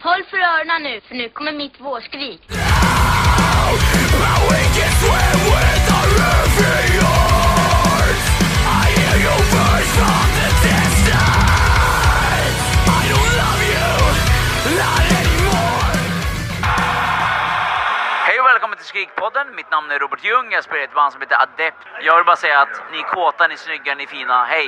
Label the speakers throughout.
Speaker 1: Håll för öronen nu, för nu kommer mitt vårskrik.
Speaker 2: Hej och välkommen till Skrikpodden. Mitt namn är Robert Ljung. Jag spelar i ett band som heter Adept. Jag vill bara säga att ni är kåta, ni är snygga, ni är fina. Hej!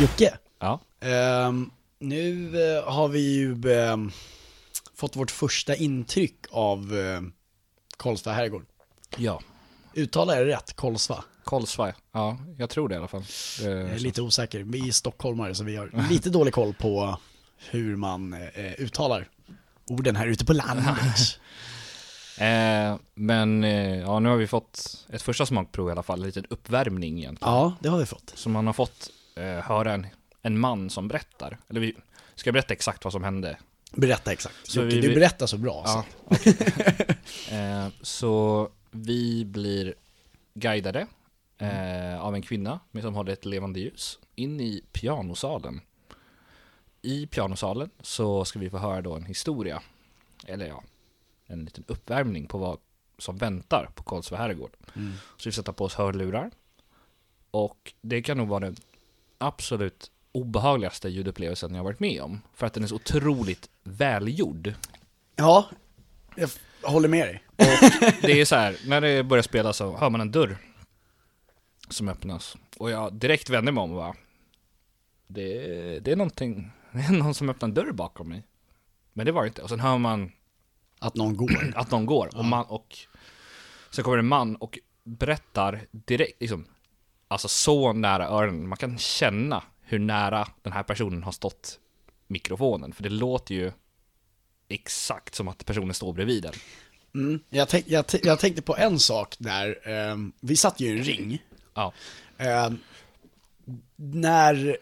Speaker 3: Jocke,
Speaker 4: Ja.
Speaker 3: ehm, nu eh, har vi ju ehm, fått vårt första intryck av eh, Karlstad herrgård.
Speaker 4: Ja.
Speaker 3: Uttalar jag det rätt? Kolsva?
Speaker 4: Kolsva. Ja, jag tror det i alla fall.
Speaker 3: Jag
Speaker 4: Eh,
Speaker 3: är lite osäker. Vi är stockholmare så vi har lite dålig koll på hur man eh, uttalar orden här ute på landet.
Speaker 4: eh, men eh, ja, nu har vi fått ett första smakprov i alla fall, en liten uppvärmning egentligen.
Speaker 3: Ja, det har vi fått.
Speaker 4: Så man har fått eh, höra en, en man som berättar. Eller vi ska jag berätta exakt vad som hände.
Speaker 3: Berätta exakt.
Speaker 4: Så
Speaker 3: Jocke,
Speaker 4: vi-
Speaker 3: du
Speaker 4: vi-
Speaker 3: berättar så bra.
Speaker 4: Ja,
Speaker 3: Så.
Speaker 4: okej. eh, så vi blir guidade eh, av en kvinna med- som håller ett levande ljus in i pianosalen. I pianosalen så ska vi få höra då en historia, eller ja, en liten uppvärmning på vad som väntar på Karlsberg herrgård. Så vi sätter på oss hörlurar och det kan nog vara den absolut obehagligaste ljudupplevelsen jag varit med om. För att den är så otroligt välgjord.
Speaker 3: ja, jag f- håller med dig.
Speaker 4: Det är så här, när det börjar spela så hör man en dörr som öppnas. Och jag direkt vänder mig om och bara, det, det är någonting, det är någon som öppnar en dörr bakom mig. Men det var det inte. Och sen hör man
Speaker 3: Att någon går.
Speaker 4: att någon går och, man, och sen kommer en man och berättar direkt, liksom, alltså så nära öronen. Man kan känna hur nära den här personen har stått mikrofonen. För det låter ju exakt som att personen står bredvid den.
Speaker 3: Mm. Jag, tänk, jag, t- jag tänkte på en sak där. ehm, vi satt ju i en ring.
Speaker 4: Ja.
Speaker 3: Eh, när,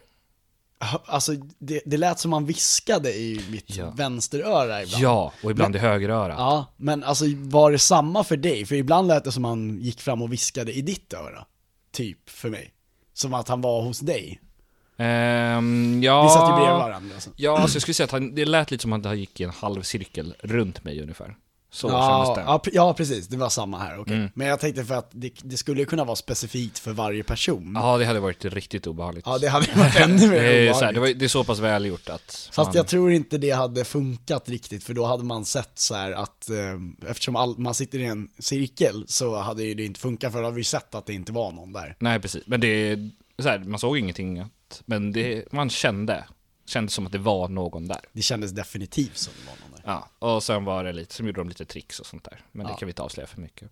Speaker 3: alltså det, det lät som man viskade i mitt
Speaker 4: Ja.
Speaker 3: vänsteröra ibland.
Speaker 4: Ja, och ibland i högerörat.
Speaker 3: Ja, men alltså var det samma för dig? För ibland lät det som han gick fram och viskade i ditt öra. Typ, för mig. Som att han var hos dig.
Speaker 4: Ehm, ja...
Speaker 3: Vi satt ju bredvid varandra. Alltså.
Speaker 4: Ja, så jag skulle säga att han, det lät lite som att han gick i en halv cirkel runt mig ungefär. Så kändes
Speaker 3: Ja,
Speaker 4: det. Mm.
Speaker 3: ja, pre- ja, precis. Det var samma här, okej. Men jag tänkte för att det, det skulle kunna vara specifikt för varje person. Ja,
Speaker 4: Ja, det hade varit riktigt obehagligt.
Speaker 3: det hade varit ännu mer
Speaker 4: det, är så här,
Speaker 3: obehagligt.
Speaker 4: det, var, det är så pass välgjort att...
Speaker 3: Fast
Speaker 4: man-
Speaker 3: jag tror inte det hade funkat riktigt, för då hade man sett så här att eh, eftersom all, man sitter i en cirkel så hade ju det inte funkat, för då hade vi sett att det inte var någon där.
Speaker 4: Nej, precis. Men det... Så här, man såg ingenting, att, men det, man kände. Kändes som att det var någon där.
Speaker 3: Det kändes definitivt som det var någon där.
Speaker 4: Ja, och sen var det lite, sen gjorde de lite tricks och sånt där. Men det kan vi inte avslöja för mycket.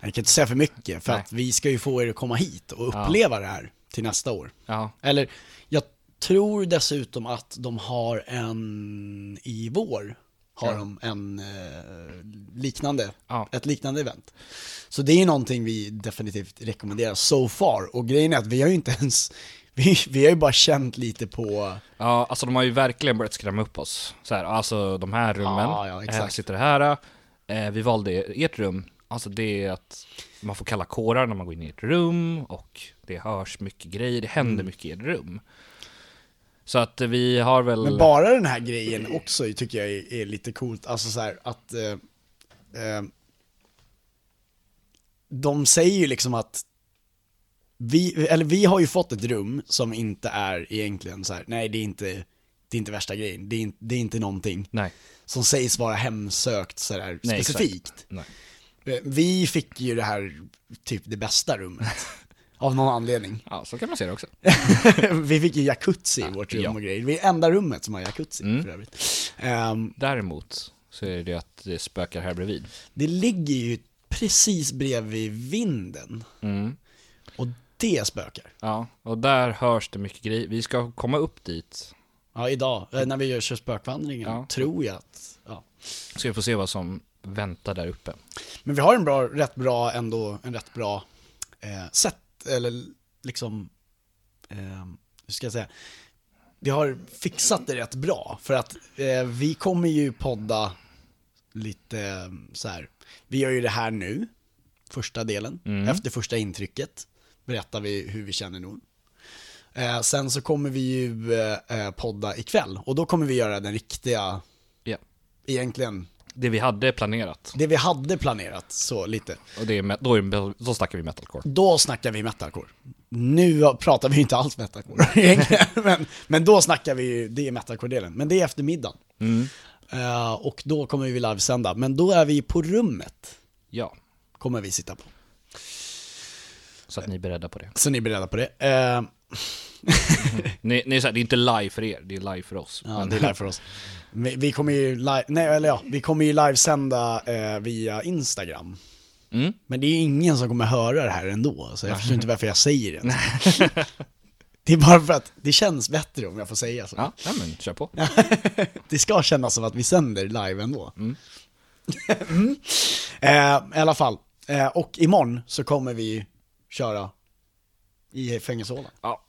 Speaker 3: Jag kan inte säga för mycket, för
Speaker 4: Nej.
Speaker 3: att vi ska ju få er att komma hit och uppleva det här till nästa år.
Speaker 4: Ja,
Speaker 3: Eller, jag tror dessutom att de har en, i vår, har de en eh, liknande,
Speaker 4: Ja.
Speaker 3: ett liknande event. Så det är någonting vi definitivt rekommenderar so far, och grejen är att vi har ju inte ens, vi, vi har ju bara känt lite på,
Speaker 4: Ja, alltså de har ju verkligen börjat skrämma upp oss. Så här, alltså de här rummen,
Speaker 3: Ja, ja, exakt.
Speaker 4: eh, sitter här, eh, vi valde ert rum. Alltså det är att man får kalla kårar när man går in i ett rum och det hörs mycket grejer, det händer
Speaker 3: Mm.
Speaker 4: mycket i ett rum. Så att eh, vi har väl...
Speaker 3: men bara den här grejen också tycker jag är, är lite coolt, alltså så här att eh, eh, de säger ju liksom att vi, eller vi har ju fått ett rum som inte är egentligen så här, nej det är inte, det är inte värsta grejen, det är, inte- det är inte någonting
Speaker 4: Nej,
Speaker 3: som sägs vara hemsökt så där
Speaker 4: Nej, exakt.
Speaker 3: specifikt.
Speaker 4: nej.
Speaker 3: Eh, Vi fick ju det här, typ det bästa rummet, av någon anledning.
Speaker 4: Ja, så kan man se det också.
Speaker 3: vi fick ju jacuzzi i vårt rum
Speaker 4: ja. Mm.
Speaker 3: och grejer, det är enda rummet som har jacuzzi för övrigt. Ehm,
Speaker 4: Däremot så är det ju att det spökar här bredvid.
Speaker 3: det ligger ju precis bredvid vinden.
Speaker 4: Mm.
Speaker 3: Och det spökar.
Speaker 4: Ja, och där hörs det mycket grejer. Vi ska komma upp dit
Speaker 3: Ja, idag, eh, när vi gör kör spökvandringen,
Speaker 4: Ja.
Speaker 3: tror jag att, ja.
Speaker 4: så vi får se vad som väntar där uppe.
Speaker 3: Men vi har en bra, rätt bra ändå, en rätt bra eh, sätt, eller liksom, eh, hur ska jag säga, vi har fixat det rätt bra. För att eh, vi kommer ju podda lite eh, så här. Vi gör ju det här nu, första delen. Efter första intrycket berättar vi hur vi känner nog. Eh, sen så kommer vi ju eh, eh, podda ikväll och då kommer vi göra den riktiga,
Speaker 4: Ja.
Speaker 3: egentligen,
Speaker 4: Det vi hade planerat.
Speaker 3: det vi hade planerat så lite.
Speaker 4: Och det är, me- då, är, det- då snackar vi metalcore.
Speaker 3: Då snackar vi metalcore. Nu pratar vi ju inte alls metalcore egentligen, men, men då snackar vi ju, det är metalcore-delen. Men det är eftermiddagen. Eh, och då kommer vi livesända, men då är vi på rummet,
Speaker 4: Ja,
Speaker 3: kommer vi sitta på.
Speaker 4: så att ni är beredda på det.
Speaker 3: Så ni är beredda på det. Eh,
Speaker 4: Ni, ni är så här, det är inte live för er, det är live för oss.
Speaker 3: ja, det är live för oss. Vi, vi kommer ju live, nej eller ja, vi kommer ju livesända eh, via Instagram.
Speaker 4: Mm.
Speaker 3: Men det är ju ingen som kommer höra det här ändå, så jag förstår inte varför jag säger det. det är bara för att det känns bättre om jag får säga så.
Speaker 4: Ja, ja, men kör på.
Speaker 3: det ska kännas som att vi sänder live ändå. Mm. Eh, I alla fall, eh, och imorgon så kommer vi köra i Fängelsehålan.
Speaker 4: Ja.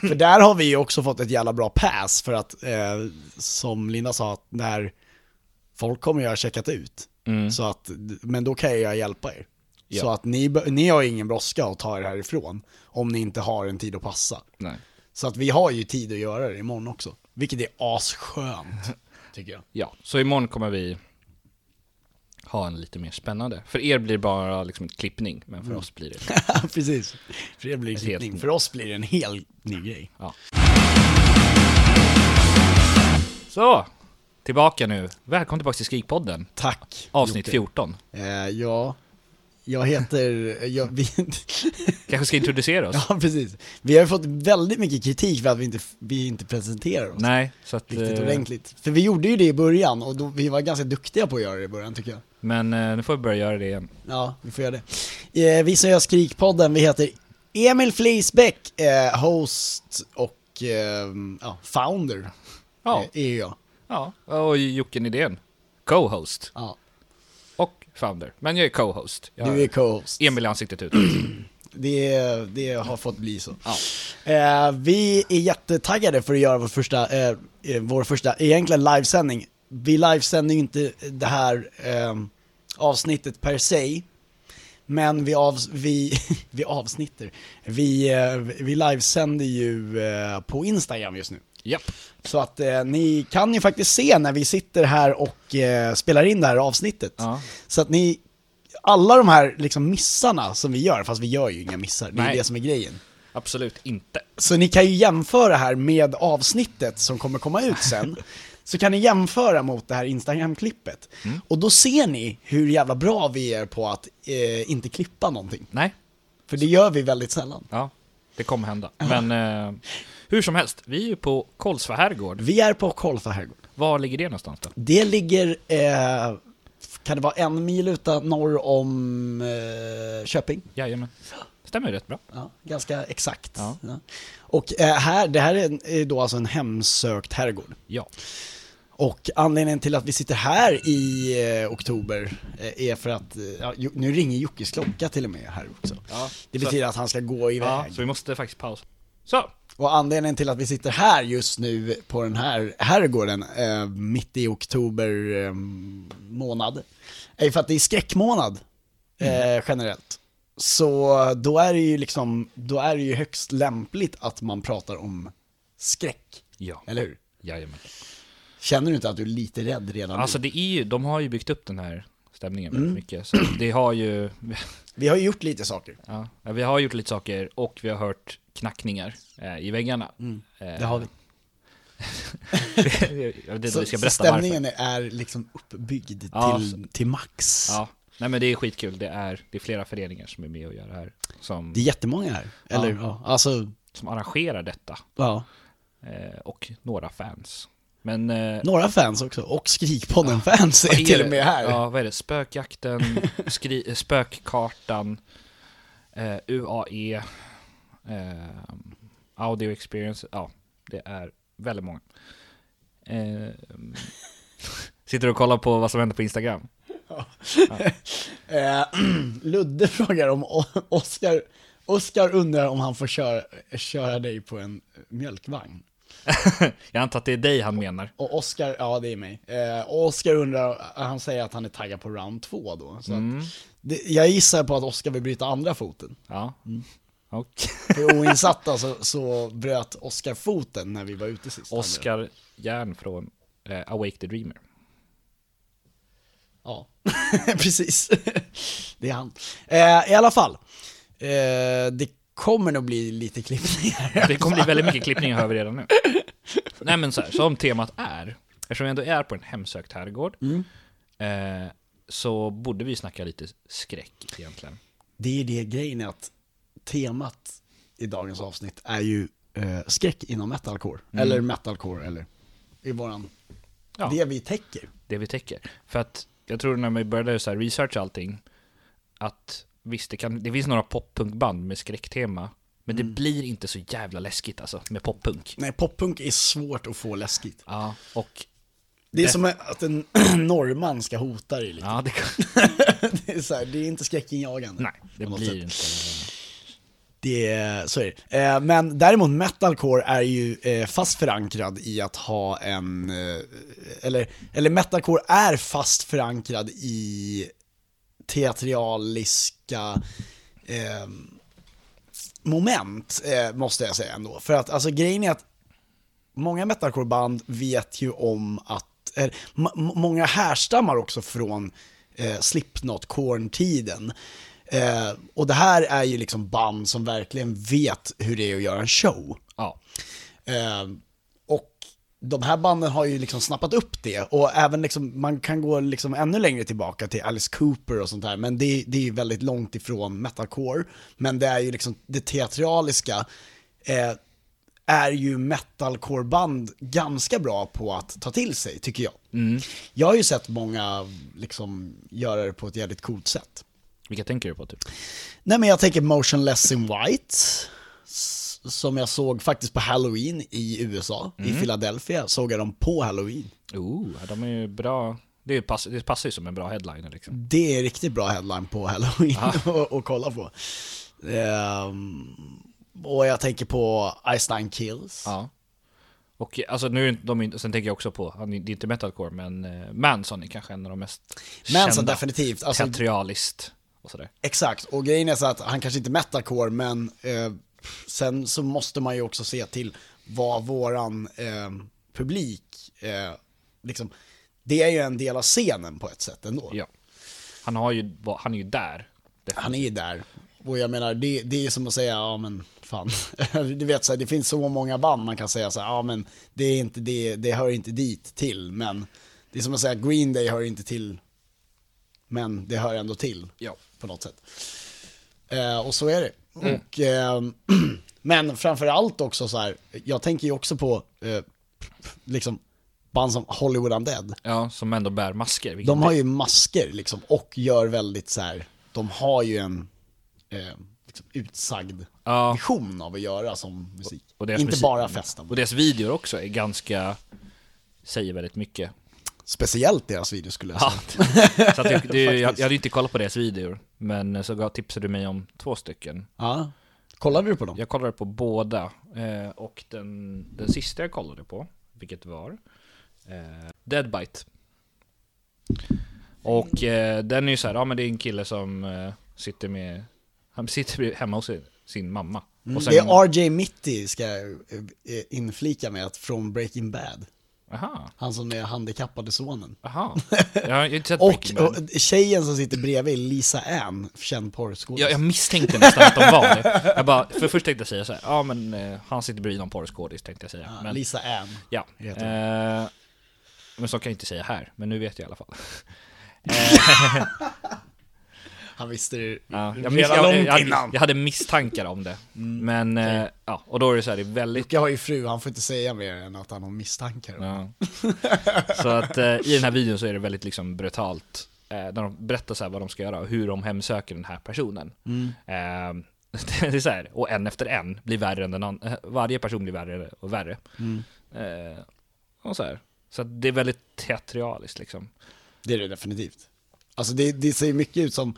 Speaker 3: För där har vi ju också fått ett jävla bra pass för att, eh, som Linda sa, att när folk kommer ju ha checkat ut. Så att, men då kan jag hjälpa er. Så att ni, be- ni har ju ingen brådska att ta er härifrån om ni inte har en tid att passa.
Speaker 4: Nej.
Speaker 3: Så att vi har ju tid att göra det imorgon också. Vilket är asskönt, tycker jag.
Speaker 4: Ja, så imorgon kommer vi ha en lite mer spännande. För er blir det bara liksom en klippning, men för oss blir det...
Speaker 3: Precis. För er blir det en
Speaker 4: helt
Speaker 3: klippning.
Speaker 4: ny.
Speaker 3: För oss blir det en helt ny grej.
Speaker 4: Ja. Så, tillbaka nu. Välkommen tillbaka till Skrikpodden,
Speaker 3: Tack.
Speaker 4: avsnitt
Speaker 3: Jocke.
Speaker 4: 14.
Speaker 3: Eh, ja, jag heter... Jag, vi,
Speaker 4: Kanske ska introducera oss?
Speaker 3: ja, precis. Vi har ju fått väldigt mycket kritik för att vi inte, vi inte presenterar oss.
Speaker 4: Nej, så att...
Speaker 3: Riktigt
Speaker 4: eh,
Speaker 3: ordentligt. För vi gjorde ju det i början och då, vi var ganska duktiga på att göra det i början tycker jag.
Speaker 4: Men eh, nu får vi börja göra det igen.
Speaker 3: Ja, vi får göra det. Eh, vi som gör Skrikpodden, vi heter Emil Flisbäck, eh, host och eh, ja, founder.
Speaker 4: Ja.
Speaker 3: Eh, är ju jag.
Speaker 4: Ja, och Jocke Nydén, co-host
Speaker 3: Ja,
Speaker 4: och founder. Men jag är co-host. Jag
Speaker 3: du är co-host.
Speaker 4: Emil i ansiktet ut.
Speaker 3: Det, det har fått bli så. Eh, vi är jättetaggade för att göra vår första, eh, eh, vår första egentligen livesändning. Vi livesänder ju inte det här eh, avsnittet per se, men vi, av, vi, vi avsnitter. Vi, eh, vi livesänder ju eh, på Instagram just nu.
Speaker 4: Japp.
Speaker 3: Så att eh, ni kan ju faktiskt se när vi sitter här och eh, spelar in det här avsnittet.
Speaker 4: Ja.
Speaker 3: Så att ni, alla de här liksom missarna som vi gör, fast vi gör ju inga missar, det är
Speaker 4: Nej.
Speaker 3: det som är grejen.
Speaker 4: Absolut inte.
Speaker 3: Så ni kan ju jämföra här med avsnittet som kommer komma ut sen. Så kan ni jämföra mot det här Instagram-klippet.
Speaker 4: Mm.
Speaker 3: Och då ser ni hur jävla bra vi är på att eh, inte klippa någonting.
Speaker 4: Nej.
Speaker 3: För det gör vi väldigt sällan.
Speaker 4: Ja, det kommer hända. Men eh, hur som helst, vi är ju på Kolsva herrgård.
Speaker 3: Vi är på Kolfa herrgård.
Speaker 4: Var ligger det någonstans då?
Speaker 3: Det ligger, eh, kan det vara en mil utan norr om eh, Köping?
Speaker 4: Jajamän. Stämmer ju rätt bra.
Speaker 3: Ja, ganska exakt.
Speaker 4: Ja.
Speaker 3: Ja. Och eh, här, det här är en- är då alltså en hemsökt herrgård.
Speaker 4: Ja.
Speaker 3: Och anledningen till att vi sitter här i eh, oktober eh, är för att, eh, ja, Jo- nu ringer Jockes klocka till och med här också.
Speaker 4: Ja,
Speaker 3: det
Speaker 4: så
Speaker 3: betyder att han ska gå
Speaker 4: Ja,
Speaker 3: iväg.
Speaker 4: så vi måste faktiskt pausa. Så!
Speaker 3: Och anledningen till att vi sitter här just nu på den här herrgården eh, mitt i oktober eh, månad är för att det är skräckmånad
Speaker 4: Mm.
Speaker 3: eh, generellt. Så då är det ju liksom, då är det ju högst lämpligt att man pratar om skräck,
Speaker 4: Ja.
Speaker 3: eller hur?
Speaker 4: Jajamän.
Speaker 3: Känner du inte att du är lite rädd redan
Speaker 4: Alltså
Speaker 3: nu?
Speaker 4: det är ju, de har ju byggt upp den här stämningen
Speaker 3: Mm.
Speaker 4: väldigt mycket. Så det har ju,
Speaker 3: Vi har ju gjort lite saker,
Speaker 4: ja, vi har gjort lite saker och vi har hört knackningar eh, i väggarna.
Speaker 3: Mm.
Speaker 4: Eh,
Speaker 3: det har vi.
Speaker 4: jag vet inte
Speaker 3: Så,
Speaker 4: om vi ska
Speaker 3: så
Speaker 4: berätta
Speaker 3: stämningen är liksom uppbyggd
Speaker 4: Ja,
Speaker 3: till, till max.
Speaker 4: varför. Ja. Nej men det är skitkul, det är, det är flera föreningar som är med och gör det här. Som,
Speaker 3: Det är jättemånga här, eller ja. alltså,
Speaker 4: som arrangerar detta.
Speaker 3: ja.
Speaker 4: Eh, och några fans. Men... Eh,
Speaker 3: Några fans också, och Skrikpodden-fans är
Speaker 4: är
Speaker 3: till
Speaker 4: det-
Speaker 3: och med här.
Speaker 4: Ja, vad är det? Spökjakten, skri, eh, Spökkartan, eh, UAE, eh, Audio Experience. Ja, det är väldigt många. Eh, sitter du och kollar på vad som händer på Instagram?
Speaker 3: Eh, Ludde frågar om O- Oscar, Oscar undrar om han får köra, köra dig på en mjölkvagn.
Speaker 4: Jag antar att det är dig han menar.
Speaker 3: Och Oscar, ja det är mig. Eh, Oscar undrar, han säger att han är taggad på round två då. Så
Speaker 4: Mm.
Speaker 3: att, det, jag gissar på att Oscar vill bryta andra foten.
Speaker 4: Ja.
Speaker 3: Mm.
Speaker 4: Okej.
Speaker 3: För oinsatta så, så bröt Oscar foten när vi var ute sist.
Speaker 4: Oscar Järn från eh, Awake the Dreamer.
Speaker 3: Ja, precis. det är han. Eh, I alla fall, eh, det kommer nog bli lite klippningar.
Speaker 4: Det kommer bli väldigt mycket klippningar över redan nu. Nej men så här, som temat är, eftersom vi ändå är på en hemsökt herrgård,
Speaker 3: Mm.
Speaker 4: eh, så borde vi snacka lite skräck egentligen.
Speaker 3: Det är det grejen är att temat i dagens avsnitt är ju eh, skräck inom metalcore. Eller metalcore, eller i våran...
Speaker 4: Mm. Ja.
Speaker 3: Det vi täcker.
Speaker 4: det vi täcker. För att jag tror när vi började så här researcha allting, att visst, det, kan, det finns några poppunkband med skräcktema, men
Speaker 3: Mm.
Speaker 4: det blir inte så jävla läskigt alltså med poppunk.
Speaker 3: Nej, poppunk är svårt att få läskigt.
Speaker 4: Ja, och
Speaker 3: Det är som att en norrman ska hota dig lite.
Speaker 4: ja, det,
Speaker 3: Det, är så här, det är inte skräckinjagande.
Speaker 4: nej, det
Speaker 3: På något
Speaker 4: blir
Speaker 3: sätt.
Speaker 4: inte.
Speaker 3: Det, är- så är det. Eh, Men däremot metalcore är ju eh, fast förankrad i att ha en, eh, eller, eller metalcore är fast förankrad i teatraliska eh, moment, eh, måste jag säga ändå. För att alltså grejen är att många metalcoreband vet ju om att, eh, ma- m- många härstammar också från eh, Slipknot, Korn-tiden. Eh, och det här är ju liksom band som verkligen vet hur det är att göra en show.
Speaker 4: Ja,
Speaker 3: Eh, och de här banden har ju liksom snappat upp det och även liksom, man kan gå liksom ännu längre tillbaka till Alice Cooper och sånt där, men det, det är ju väldigt långt ifrån metalcore. Men det är ju liksom det teatraliska eh, är ju metalcoreband ganska bra på att ta till sig, tycker jag. Jag har ju sett många liksom göra det på ett jävligt coolt sätt.
Speaker 4: vilka tänker du på typ?
Speaker 3: Nej men jag tänker Motionless in White, s- som jag såg faktiskt på Halloween i USA,
Speaker 4: Mm.
Speaker 3: i Philadelphia, såg jag dem på Halloween.
Speaker 4: Oh, ja, de är ju bra. Det, är ju pass, det passar ju som en bra headliner liksom.
Speaker 3: Det är riktigt bra headline på Halloween
Speaker 4: Ah.
Speaker 3: att att kolla på. Ehm, och jag tänker på Ice Nine Kills.
Speaker 4: Ja. Och alltså nu är inte de inte, sen tänker jag också på, han är- det är inte metalcore men eh, Manson är kanske en av de mest
Speaker 3: Manson
Speaker 4: kända,
Speaker 3: definitivt, alltså-
Speaker 4: teatraliskt och sådär.
Speaker 3: Exakt, och grejen är så att han kanske inte är metalcore, men eh, sen så måste man ju också se till vad våran eh, publik, eh, liksom, det är ju en del av scenen på ett sätt ändå.
Speaker 4: Ja. Han, har ju, han är ju där.
Speaker 3: Han är ju där. Och jag menar, det, det är som att säga, ja men fan. Du vet, så här, det finns så många band man kan säga så här, ja men det, är inte, det, det hör inte dit till, men det är som att säga Green Day hör inte till, men det hör ändå till
Speaker 4: Ja.
Speaker 3: på något sätt. Eh, och så är det. Och, ehm, men framför allt också så här, jag tänker ju också på eh, liksom band som Hollywood Undead.
Speaker 4: Ja, som ändå bär masker. vilket
Speaker 3: De har ju masker liksom och gör väldigt så här. de har ju en eh, liksom, utsagd
Speaker 4: Ja.
Speaker 3: vision av att göra som musik.
Speaker 4: och deras
Speaker 3: Inte
Speaker 4: musik-
Speaker 3: bara festen.
Speaker 4: Och deras videor också är ganska, säger väldigt mycket.
Speaker 3: Speciellt deras video skulle jag säga.
Speaker 4: Ja. så att det, det, jag, jag hade ju inte kollat på deras videor, men eh, så gav- tipsade du mig om två stycken.
Speaker 3: Ja. Kollade du på dem?
Speaker 4: Jag kollade på båda, eh, och den, den sista jag kollade på, vilket var, eh, Deadbite. Och eh, den är ju så här, ja men det är en kille som eh, sitter med, han sitter hemma hos sin, sin mamma. Och sen,
Speaker 3: Mm. Det är RJ Mitty, ska jag eh, inflika med, att från Breaking Bad.
Speaker 4: aha,
Speaker 3: Han som är handikappade sonen.
Speaker 4: aha. Jag har ju inte sett
Speaker 3: Och,
Speaker 4: Breaking Bad.
Speaker 3: och tjejen som sitter bredvid, Lisa Ann, känd porrskådis.
Speaker 4: Jag, jag misstänkte nästan att de var det. Jag bara, för först tänkte jag säga så här, ja men eh, han sitter bredvid någon porrskådis tänkte jag säga.
Speaker 3: Ja,
Speaker 4: men,
Speaker 3: Lisa Ann.
Speaker 4: ja.
Speaker 3: heter
Speaker 4: Eh, men så kan jag inte säga här, men nu vet jag i alla fall.
Speaker 3: Han visste det
Speaker 4: Ja,
Speaker 3: redan
Speaker 4: miss-
Speaker 3: långt
Speaker 4: jag,
Speaker 3: innan. Mm.
Speaker 4: jag hade misstankar om det. Men, eh, ja, och då är det så här, det är väldigt...
Speaker 3: Jocke har ju fru, han får inte säga mer än att han har misstankar.
Speaker 4: Ja. Så att eh, i den här videon så är det väldigt liksom brutalt. Eh, när de berättar så här vad de ska göra och hur de hemsöker den här personen.
Speaker 3: Mm.
Speaker 4: Eh, det är så här, och en efter en blir värre än den andra. Varje person blir värre och värre.
Speaker 3: Mm.
Speaker 4: Eh, och så här. Så att det är väldigt teatraliskt liksom.
Speaker 3: Det är det definitivt. Alltså det, det ser mycket ut som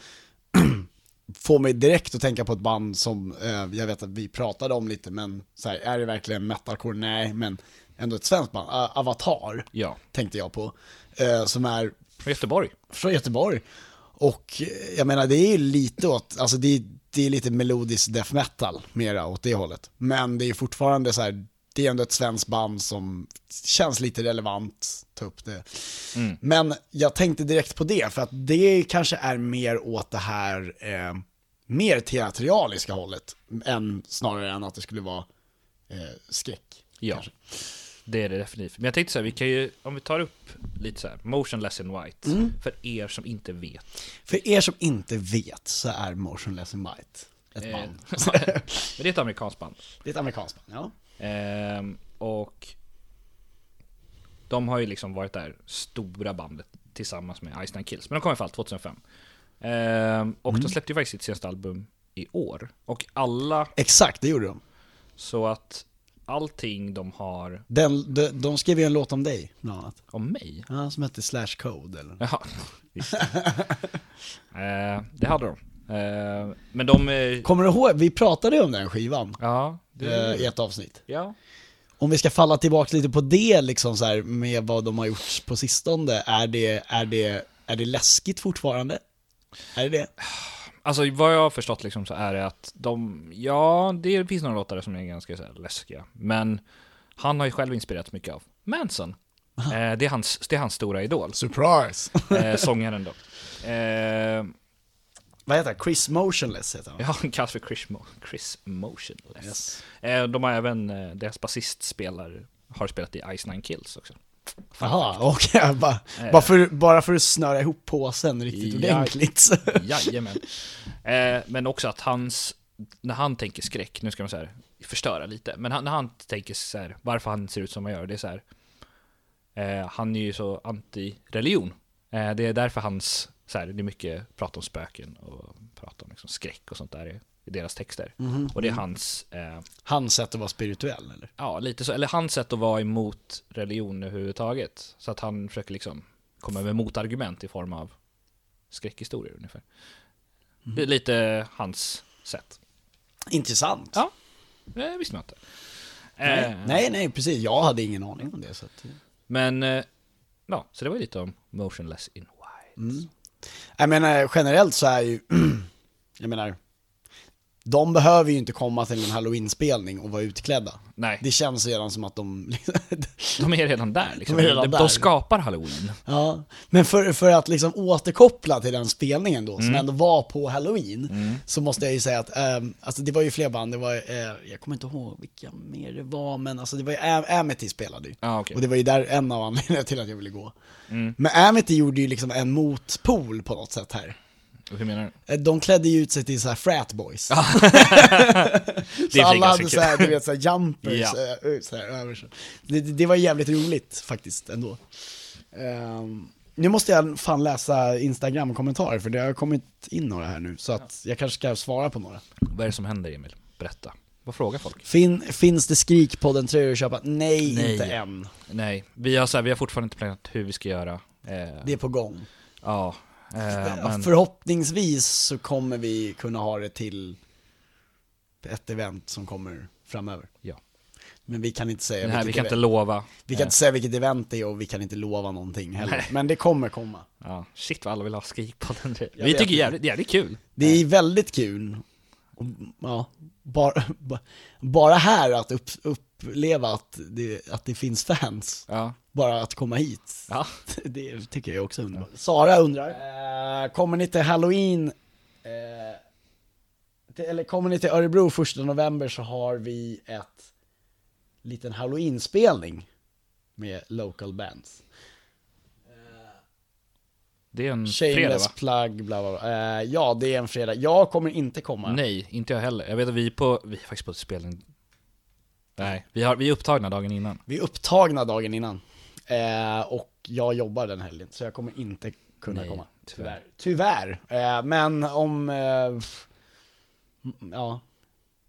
Speaker 3: får mig direkt att tänka på ett band som eh, jag vet att vi pratade om lite, men så här, är det verkligen metalcore? Nej, men ändå ett svenskt band. A- Avatar
Speaker 4: Ja.
Speaker 3: tänkte jag på, eh, som är
Speaker 4: Från Göteborg.
Speaker 3: från Göteborg. Och eh, jag menar, det är ju lite åt, alltså det är, det är lite melodisk death metal, mera åt det hållet. Men det är ju fortfarande så här, det är ändå ett svenskt band som känns lite relevant, ta upp det.
Speaker 4: Mm.
Speaker 3: Men jag tänkte direkt på det, för att det kanske är mer åt det här eh, mer teatraliska hållet, än, snarare än att det skulle vara eh, skräck.
Speaker 4: Ja.
Speaker 3: kanske.
Speaker 4: Det är det definitivt. Men jag tänkte så här, vi kan ju, om vi tar upp lite så här, Motionless in White, för er som inte vet.
Speaker 3: För er som inte vet så är Motionless in White ett
Speaker 4: Eh,
Speaker 3: band.
Speaker 4: Men det är ett amerikanskt band.
Speaker 3: Det är ett amerikanskt band, ja.
Speaker 4: Ehm, och de har ju liksom varit det här stora bandet tillsammans med Iceland Kills. Men de kom i alla fall 2005. Ehm, och de släppte ju faktiskt sitt senaste album i år. Och alla,
Speaker 3: Exakt, det gjorde de.
Speaker 4: så att allting de har
Speaker 3: Den, de, de skrev ju en låt om dig, bland annat.
Speaker 4: om mig.
Speaker 3: Ja, som hette Slash Code eller?
Speaker 4: Jaha, visst. Ehm, det hade de. Ehm, men de... eh,
Speaker 3: Kommer du ihåg, vi pratade om den skivan
Speaker 4: Ja, det,
Speaker 3: eh, i ett avsnitt.
Speaker 4: ja.
Speaker 3: Om vi ska falla tillbaka lite på det liksom så här, med vad de har gjort på sistone, är det, är det, är det läskigt fortfarande? Är det det?
Speaker 4: Alltså vad jag har förstått liksom så är det att de, ja det finns några låtar som är ganska så här läskiga. Men han har ju själv inspirerats mycket av Manson. Eh, det, är hans, det är hans stora idol,
Speaker 3: Surprise!
Speaker 4: eh, sångaren då. Eh,
Speaker 3: vad heter han? Chris Motionless heter han.
Speaker 4: ja, han kallas för Chris, Mo- Chris Motionless.
Speaker 3: Yes.
Speaker 4: Eh, de har även, eh, deras basist spelar, har spelat i Ice Nine Kills också.
Speaker 3: Jaha, okej. Bara, bara, för, bara för att snöra ihop påsen riktigt
Speaker 4: Ja.
Speaker 3: ordentligt.
Speaker 4: Jajamän. Eh, men också att hans, när han tänker skräck, nu ska man så här förstöra lite, men han, när han tänker så här, varför han ser ut som han gör, det är så här, eh, han är ju så anti-religion. Eh, det är därför hans, så här, det är mycket prat om spöken och prat om liksom skräck och sånt där i, i deras texter. Och det är hans, eh,
Speaker 3: Hans sätt att vara spirituell eller?
Speaker 4: ja lite så, eller hans sätt att vara emot religion överhuvudtaget. Så att han försöker liksom komma med motargument i form av skräckhistorier ungefär.
Speaker 3: Mm.
Speaker 4: Det är lite hans sätt.
Speaker 3: Intressant.
Speaker 4: Ja, det visste man inte.
Speaker 3: Nej,
Speaker 4: Eh,
Speaker 3: nej, nej, precis. Jag hade ingen aning om det. Så att...
Speaker 4: Men, eh, ja, så det var ju lite om Motionless in White.
Speaker 3: Mm. Jag menar, generellt så är ju, jag menar, de behöver ju inte komma till en halloween-spelning och vara utklädda.
Speaker 4: Nej.
Speaker 3: Det känns redan som att de,
Speaker 4: De är redan där liksom.
Speaker 3: De
Speaker 4: De,
Speaker 3: är redan
Speaker 4: de,
Speaker 3: där.
Speaker 4: skapar halloween.
Speaker 3: ja. Men för, för att liksom återkoppla till den spelningen då, som ändå var på halloween, så måste jag ju säga att, ehm, alltså det var ju fler band, det var, eh, jag kommer inte ihåg vilka mer det var, men alltså det var ju, Am- Amity spelade ju.
Speaker 4: Ja, okej.
Speaker 3: Och det var ju där en av anledningarna till att jag ville gå. Men Amity gjorde ju liksom en motpol på något sätt här.
Speaker 4: Hur menar du?
Speaker 3: Eh, De klädde ju ut sig till så här frat boys.
Speaker 4: Det
Speaker 3: så
Speaker 4: är
Speaker 3: alla
Speaker 4: ganska
Speaker 3: hade
Speaker 4: kul.
Speaker 3: så här, du vet, så här jumpers
Speaker 4: Ja.
Speaker 3: eh, så här, över sig. Det, det det var jävligt roligt faktiskt ändå. Ehm, nu måste jag fan läsa Instagram-kommentarer för det har kommit in några här nu, så att jag kanske ska svara på några.
Speaker 4: Vad är det som händer Emil? Berätta. Vad frågar folk?
Speaker 3: Fin, finns det Skrikpodden-tröjor att köpa? Nej,
Speaker 4: Nej.
Speaker 3: inte än.
Speaker 4: Nej, vi har, så här, vi har fortfarande inte planerat hur vi ska göra. Eh,
Speaker 3: Det är på gång.
Speaker 4: Ja, eh,
Speaker 3: Ja,
Speaker 4: men
Speaker 3: Förhoppningsvis så kommer vi kunna ha det till ett event som kommer framöver.
Speaker 4: ja.
Speaker 3: Men vi kan inte säga
Speaker 4: Den här, vi
Speaker 3: vilket
Speaker 4: kan inte
Speaker 3: event-
Speaker 4: lova.
Speaker 3: Vi kan inte säga vilket event det är och vi kan inte lova någonting heller. Men det kommer komma.
Speaker 4: Ja, shit vad alla vill ha typ. skrik på den Vi
Speaker 3: vet
Speaker 4: tycker
Speaker 3: inte.
Speaker 4: jävligt, jävligt kul.
Speaker 3: Det är väldigt kul. Och, Ja, bara, ba- bara här att upp, uppleva att det, att det finns fans.
Speaker 4: Ja.
Speaker 3: Bara att komma hit.
Speaker 4: Ja.
Speaker 3: Det tycker jag också är underbart. Sara undrar, eh, kommer ni till halloween, eh, till, eller kommer ni till Örebro första november så har vi ett liten halloween-spelning med local bands.
Speaker 4: Det är en Mm, fredag
Speaker 3: Shameless
Speaker 4: va?
Speaker 3: plug, bla bla bla. Eh, ja, det är en fredag. Jag kommer inte komma.
Speaker 4: Nej, inte jag heller. Jag vet att vi är på, vi är faktiskt på ett spelning. Nej, vi, har, vi är upptagna dagen innan.
Speaker 3: Vi är upptagna dagen innan. Eh, och jag jobbar den helgen, så jag kommer inte kunna
Speaker 4: Nej,
Speaker 3: komma.
Speaker 4: tyvärr.
Speaker 3: Tyvärr. Eh, men om... Eh, f- m- ja.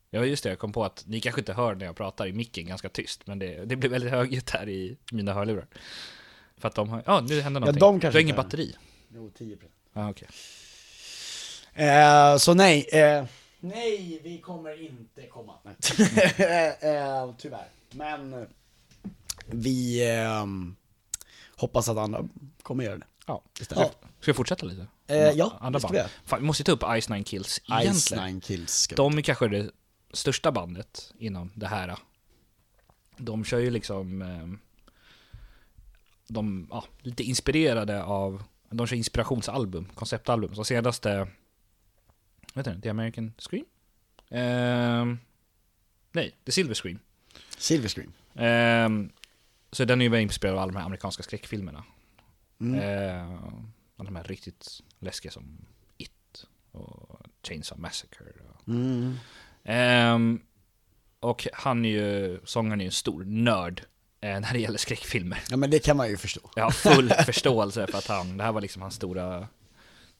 Speaker 4: Ja just det, jag kom på att ni kanske inte hör när jag pratar i micken ganska tyst, men det, det blir väldigt högljutt här i mina hörlurar. För att de har, ja nu händer någonting.
Speaker 3: de
Speaker 4: du
Speaker 3: kanske
Speaker 4: har ingen
Speaker 3: inte hör.
Speaker 4: batteri.
Speaker 3: Jo, 10%.
Speaker 4: Ja okej.
Speaker 3: Eh, så nej, eh, nej vi kommer inte komma. eh, tyvärr. Men eh, vi ehm, hoppas att andra kommer göra det.
Speaker 4: Ja, istället. Ska jag fortsätta lite?
Speaker 3: Eh, ja,
Speaker 4: Andra
Speaker 3: det ska
Speaker 4: band.
Speaker 3: vi göra.
Speaker 4: Fan, vi måste ju ta upp Ice Nine Kills
Speaker 3: Ice
Speaker 4: egentligen.
Speaker 3: Nine Kills. ska vi-
Speaker 4: De är kanske det största bandet inom det här. De kör ju liksom... eh, De, ja, lite inspirerade av... De kör inspirationsalbum, konceptalbum. Så senaste... Vet du, The American Scream? Ehm, nej, The Silver Scream.
Speaker 3: Silver Scream.
Speaker 4: Ehm, så den är ju väldigt inspirerad av alla de här amerikanska skräckfilmerna. Ehm, alla de här riktigt läskiga som It och Chainsaw Massacre. Och, Ehm, och han är ju, sångaren är ju en stor nörd eh, när det gäller skräckfilmer.
Speaker 3: Ja men det kan man ju förstå.
Speaker 4: Jag har full förståelse för att han, det här var liksom hans stora...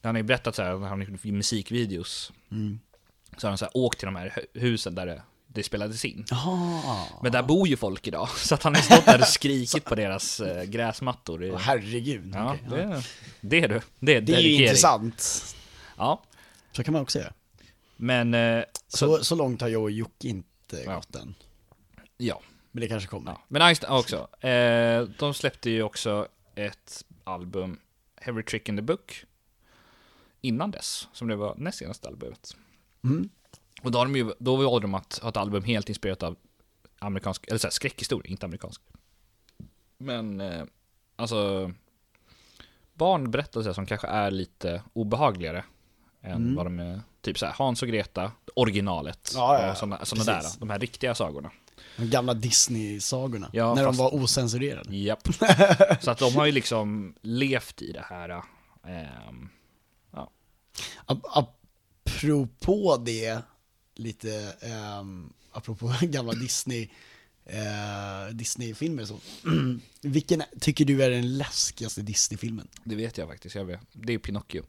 Speaker 4: Han har ju berättat så här, när han gjorde musikvideos, så har han så här, åkt till de här hu- husen där det, det spelades in.
Speaker 3: Ah,
Speaker 4: Men där bor ju folk idag, så att han har stått där och skrikit på deras eh, gräsmattor. i-
Speaker 3: Åh, herregud.
Speaker 4: ja,
Speaker 3: okej.
Speaker 4: det, är- det är du. Det är,
Speaker 3: Det är ju
Speaker 4: dedikering.
Speaker 3: intressant.
Speaker 4: Ja,
Speaker 3: Så kan man också göra.
Speaker 4: men eh,
Speaker 3: Så, så långt har jag och Jocke inte
Speaker 4: Ja.
Speaker 3: gått än.
Speaker 4: ja.
Speaker 3: Men det kanske kommer.
Speaker 4: ja. Men Einstein också. Eh, de släppte ju också ett album, Every Trick in the Book, innan dess, som det var näst senaste albumet.
Speaker 3: Mm.
Speaker 4: Och då, har de ju, då valde de att ha ett album helt inspirerat av amerikansk, eller så här, skräckhistoria, inte amerikansk. Men, eh, alltså, barnberättelser som kanske är lite obehagligare än vad de är. Typ så här, Hans och Greta, originalet,
Speaker 3: Mm. Ja, ja, ja.
Speaker 4: och sådana, sådana där,
Speaker 3: Precis.
Speaker 4: de här riktiga sagorna.
Speaker 3: De gamla Disney-sagorna.
Speaker 4: Ja,
Speaker 3: när
Speaker 4: fast-
Speaker 3: de var osensurerade.
Speaker 4: Japp. Så att de har ju liksom levt i det här. ehm,
Speaker 3: Ap- apropå det, lite ehm, apropå gamla Disney, eh, Disney-filmer och så. Vilken tycker du är den läskigaste Disney-filmen?
Speaker 4: det vet jag faktiskt, jag vet. Det är Pinocchio.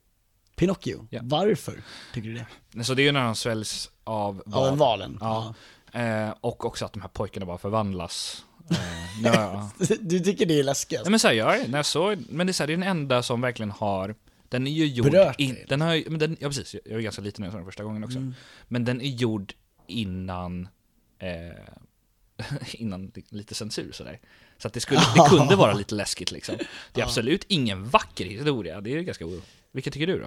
Speaker 3: Pinocchio?
Speaker 4: Ja.
Speaker 3: Varför tycker du det?
Speaker 4: Så det är ju när han sväljs av
Speaker 3: Av en valen?
Speaker 4: Ja. Eh, och också att de här pojkarna bara förvandlas. Eh, nu har jag-
Speaker 3: Du tycker det är läskigast?
Speaker 4: Nej men så här, jag, när jag såg, men det är, så här, det är den enda som verkligen har, den är ju gjord,
Speaker 3: Berört dig, Mm.
Speaker 4: in, den har ju- men den, ja precis, jag var ganska liten när jag såg den första gången också. Men den är gjord innan, eh, innan li- lite censur sådär. Så att det, skulle, det kunde vara lite läskigt liksom. Det är absolut ingen vacker historia, det är ju ganska o... Vilka tycker du då?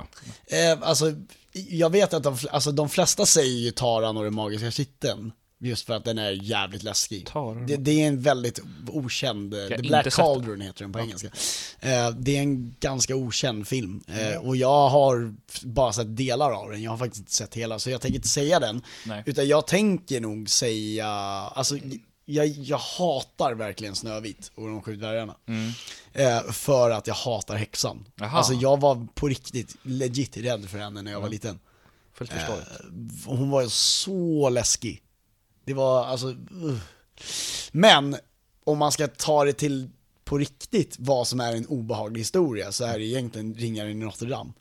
Speaker 3: Eh, alltså, jag vet att de, fl- alltså, de flesta säger ju Taran och den magiska kitteln. Just för att den är jävligt läskig.
Speaker 4: Taran.
Speaker 3: Det, det är en väldigt okänd, eh,
Speaker 4: har
Speaker 3: The
Speaker 4: inte
Speaker 3: Black
Speaker 4: sett den.
Speaker 3: Cauldron heter den på engelska. Eh, det är en ganska okänd film. Eh,
Speaker 4: Mm.
Speaker 3: och jag har f- bara sett delar av den, jag har faktiskt inte sett hela. Så jag tänker inte säga den.
Speaker 4: Nej.
Speaker 3: Utan jag tänker nog säga, alltså jag, jag hatar verkligen Snövit och de sju dvärgarna.
Speaker 4: Mm.
Speaker 3: Eh, för att jag hatar häxan.
Speaker 4: Jaha.
Speaker 3: Alltså jag var på riktigt legit rädd för henne när jag var
Speaker 4: Mm.
Speaker 3: liten.
Speaker 4: Fullt
Speaker 3: Eh,
Speaker 4: förståeligt.
Speaker 3: Hon var så läskig. Det var alltså... Uh. Men om man ska ta det till på riktigt vad som är en obehaglig historia så är det egentligen Ringaren i Notre Dame.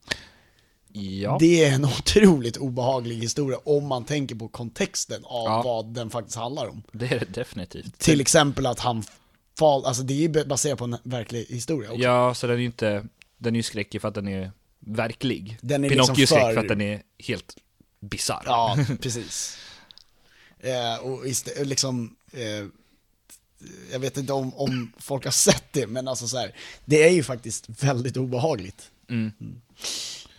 Speaker 4: ja.
Speaker 3: Det är en otroligt obehaglig historia om man tänker på kontexten av
Speaker 4: Ja.
Speaker 3: vad den faktiskt handlar om.
Speaker 4: Det är det definitivt.
Speaker 3: Till exempel att han fall, alltså det är ju baserat på en verklig historia också.
Speaker 4: Ja, så den är ju inte, den är ju skräckig för att den är verklig.
Speaker 3: Den är
Speaker 4: Pinocchio
Speaker 3: liksom för-
Speaker 4: skräck för att den är helt bisarr.
Speaker 3: Ja, precis. Eh, och istä- liksom, eh, jag vet inte om, om folk har sett det, men alltså så här, det är ju faktiskt väldigt obehagligt. Mm.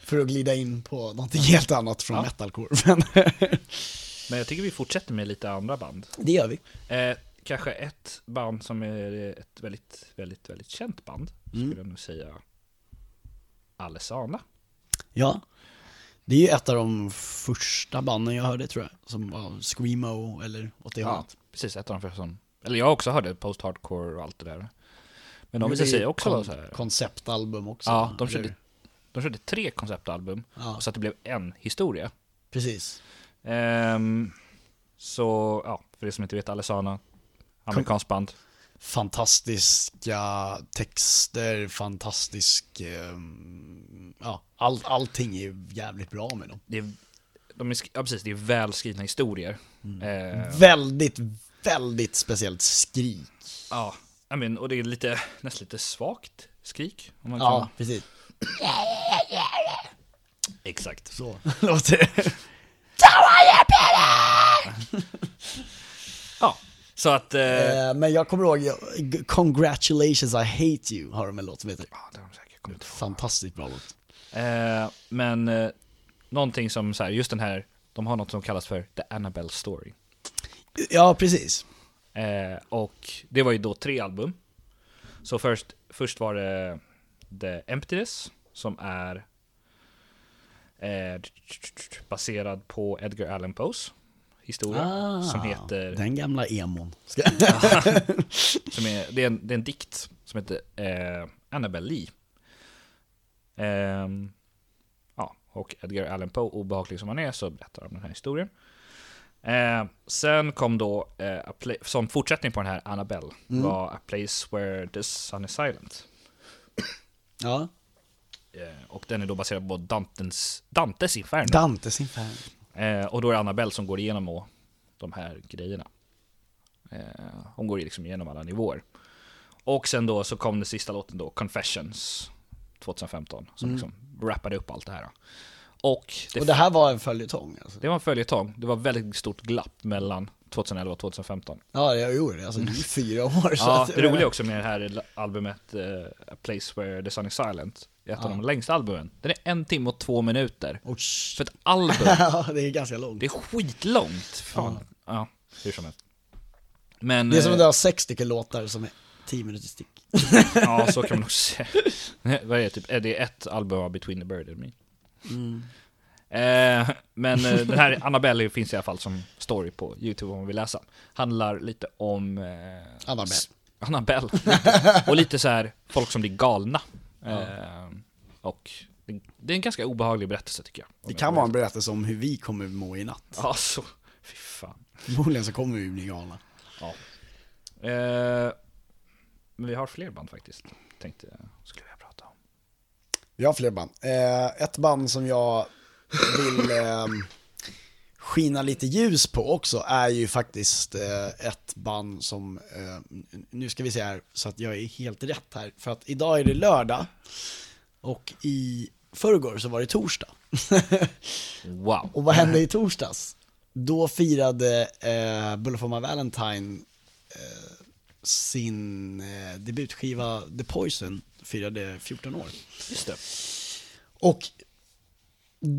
Speaker 3: För att glida in på någonting helt annat från metalcore. Men
Speaker 4: Men jag tycker vi fortsätter med lite andra band.
Speaker 3: det gör vi.
Speaker 4: Eh, kanske ett band som är ett väldigt, väldigt, väldigt känt band.
Speaker 3: Mm.
Speaker 4: Skulle jag nog säga. Alessana.
Speaker 3: Ja. Det är ju ett av de första banden jag hörde tror jag, som var Screamo eller åt det hållet.
Speaker 4: precis. Ett av de första som... Eller jag också hörde post-hardcore och allt det där. Men de
Speaker 3: Men det
Speaker 4: vill
Speaker 3: är ju
Speaker 4: säga också
Speaker 3: kon-
Speaker 4: så här.
Speaker 3: Konceptalbum också.
Speaker 4: Ja, de
Speaker 3: eller
Speaker 4: körde,
Speaker 3: hur?
Speaker 4: de körde tre konceptalbum.
Speaker 3: Ja.
Speaker 4: Och så att det blev en historia.
Speaker 3: Precis.
Speaker 4: Ehm, så, ja, för er som inte vet, Alessana. Amerikanskt band.
Speaker 3: fantastiska texter, fantastisk... ehm, ja, all, allting är ju jävligt bra med dem.
Speaker 4: Det är, de är, sk- ja, precis, det är välskrivna historier.
Speaker 3: Mm.
Speaker 4: Eh,
Speaker 3: Väldigt, väldigt speciellt skrik.
Speaker 4: Ja, I mean, och det är lite, nästan lite svagt skrik. Om man
Speaker 3: Ja, precis.
Speaker 4: kan- Exakt.
Speaker 3: Så låter det.
Speaker 4: Ja, så att... Eh,
Speaker 3: Eh, Men jag kommer ihåg, jag- Congratulations I hate you har de en låt som heter.
Speaker 4: ja, det har de säkert kommit ihåg.
Speaker 3: Fantastiskt bra låt.
Speaker 4: Eh, men eh, någonting som så här, just den här, de har något som kallas för The Annabelle Story.
Speaker 3: Ja, precis.
Speaker 4: Eh, och det var ju då tre album. Så först, först var det The Emptiness, som är eh, baserad på Edgar Allan Poes historia, som heter
Speaker 3: Den gamla emon. Ska...
Speaker 4: som är, det, är en, det är en dikt som heter eh, Annabelle Lee. Ehm, ja, och Edgar Allan Poe, obehaglig som han är, så berättar han den här historien. Eh, sen kom då, eh, a pla- som fortsättning på den här Annabelle, var A Place Where the Sun is Silent.
Speaker 3: Ja.
Speaker 4: Eh, och den är då baserad på Dantes, Dantes Inferno.
Speaker 3: Dantes Inferno.
Speaker 4: Eh, och då är det Annabelle som går igenom och de här grejerna. Eh, hon går ju liksom igenom alla nivåer. Och sen då så kom den sista låten då, Confessions 2015, som liksom wrappade upp allt det här. då. Och det,
Speaker 3: Mm. Och det här var en följetong alltså.
Speaker 4: det var en följetong, det var väldigt stort glapp mellan 2011 och 2015.
Speaker 3: Ja, jag gjorde det. Alltså, det är ju fyra år. så
Speaker 4: Ja,
Speaker 3: att-
Speaker 4: det roliga också med det här l- albumet eh, A Place Where the Sun is Silent, är ett av de längsta albumen. Den är en timme och två minuter.
Speaker 3: Och sh-
Speaker 4: För ett album
Speaker 3: Ja, det är ganska långt.
Speaker 4: Det är skitlångt. Fan. Ja. hur som helst. Men...
Speaker 3: Det är som
Speaker 4: eh,
Speaker 3: att du har sex stycken låtar som är tio minuter styck.
Speaker 4: Ja, så kan man nog säga. Nej, Vad är det? Typ, eh, det är ett album av Between the Bird and Me.
Speaker 3: Mm.
Speaker 4: Eh, men eh, den här Annabelle finns i alla fall som story på YouTube om man vill läsa. Handlar lite om... Eh,
Speaker 3: Annabelle.
Speaker 4: s- Annabelle. Och lite så här folk som blir galna. Eh, och det, det är en ganska obehaglig berättelse tycker jag. Om
Speaker 3: Det
Speaker 4: jag
Speaker 3: kan
Speaker 4: får
Speaker 3: vara en berättelse om hur vi kommer må i natt.
Speaker 4: berätta. Ja, så. Fy fan.
Speaker 3: Förmodligen så kommer vi bli galna.
Speaker 4: Ja. Eh, men vi har fler band faktiskt, tänkte jag. Skulle jag prata om.
Speaker 3: Jag har fler band. Eh, ett band som jag vill eh, skina lite ljus på också är ju faktiskt eh, ett band som, eh, n- nu ska vi se här så att jag är helt rätt här, för att idag är det lördag och i förrgår så var det torsdag.
Speaker 4: Wow.
Speaker 3: Och vad hände i torsdags? Då firade eh, Bulleforma Valentine eh, sin eh, debutskiva The Poison, firade 14 år.
Speaker 4: Just det.
Speaker 3: Och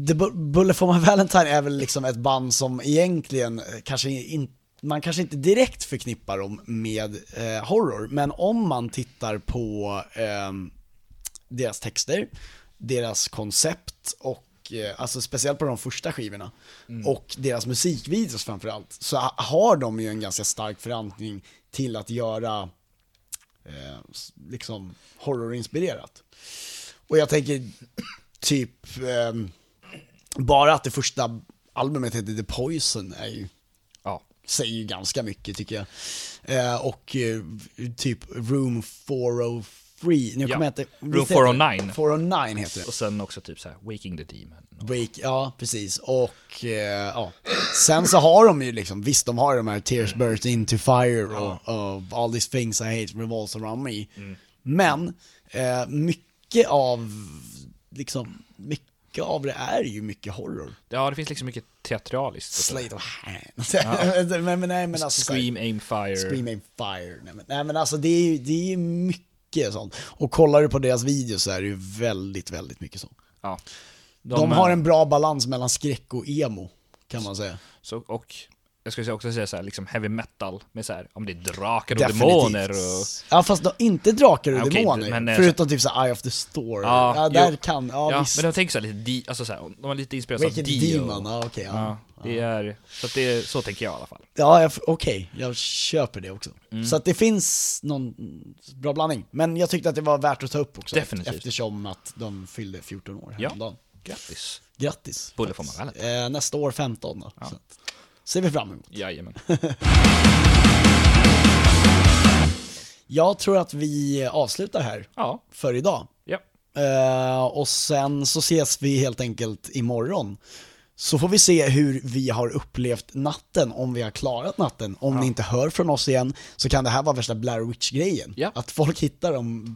Speaker 3: The Bu- Bullet for my Valentine är väl liksom ett band som egentligen eh, kanske in, man kanske inte direkt förknippar dem med eh, horror, men om man tittar på ehm, deras texter, deras koncept och eh, Alltså speciellt på de första skivorna och deras musikvideos framförallt så ha- har de ju en ganska stark förankring till att göra eh, s- liksom horrorinspirerat. Och jag tänker typ ehm, bara att det första albumet heter The Poison är ju,
Speaker 4: Ja.
Speaker 3: säger ju ganska mycket tycker jag. Eh, och eh, typ Room 403, nu
Speaker 4: Ja.
Speaker 3: kommer jag inte...
Speaker 4: Room
Speaker 3: visst heter
Speaker 4: 409.
Speaker 3: det? 409 heter det.
Speaker 4: Och sen också typ så här, Waking the Demon.
Speaker 3: Break, ja precis. Och eh, ja. sen så har de ju liksom, visst de har de här Tears Burst Into Fire och, och All These Things I Hate Revolves Around Me. Men eh, mycket av, liksom, mycket av det är ju mycket horror.
Speaker 4: Ja, det finns liksom mycket teatraliskt. och så.
Speaker 3: Slate of hand. men, men, nej, men alltså, så här-
Speaker 4: Scream, aim, fire.
Speaker 3: Screaming Fire. Nej men, nej, men alltså det är ju det är ju mycket sånt. Och kollar du på deras videos så är det ju väldigt, väldigt mycket sånt.
Speaker 4: Ja.
Speaker 3: De, har en bra balans mellan skräck och emo, kan man säga.
Speaker 4: Så, och jag skulle också säga så här, liksom heavy metal med så här, om det är drakar och
Speaker 3: Definitivt.
Speaker 4: demoner och...
Speaker 3: Ja fast då, inte drakar och
Speaker 4: Ja, okej,
Speaker 3: demoner,
Speaker 4: men, eh,
Speaker 3: förutom typ såhär Eye of the Store. Ja,
Speaker 4: Ja,
Speaker 3: där
Speaker 4: jo.
Speaker 3: kan, ja, visst.
Speaker 4: men de tänker så här lite, di, alltså så här, de var lite inspirerade av
Speaker 3: Wicked
Speaker 4: Dio.
Speaker 3: Demon, ja okej. ja.
Speaker 4: Ja, det är, så att det är, så tänker jag i alla fall.
Speaker 3: Ja, jag- okej, jag köper det också.
Speaker 4: Mm.
Speaker 3: Så att det finns någon bra blandning. Men jag tyckte att det var värt att ta upp också.
Speaker 4: Definitivt.
Speaker 3: Eftersom att de fyllde 14 år
Speaker 4: Ja.
Speaker 3: häromdagen.
Speaker 4: Grattis.
Speaker 3: Grattis.
Speaker 4: Borde få man väl.
Speaker 3: Eh, nästa år 15 då. Så att, ser vi fram emot.
Speaker 4: Jajamän.
Speaker 3: Jag tror att vi avslutar här
Speaker 4: Ja.
Speaker 3: för idag.
Speaker 4: Ja.
Speaker 3: Eh, och sen så ses vi helt enkelt imorgon. Så får vi se hur vi har upplevt natten, om vi har klarat natten. Om ni inte hör från oss igen så kan det här vara värsta Blair Witch-grejen.
Speaker 4: Ja.
Speaker 3: Att folk hittar de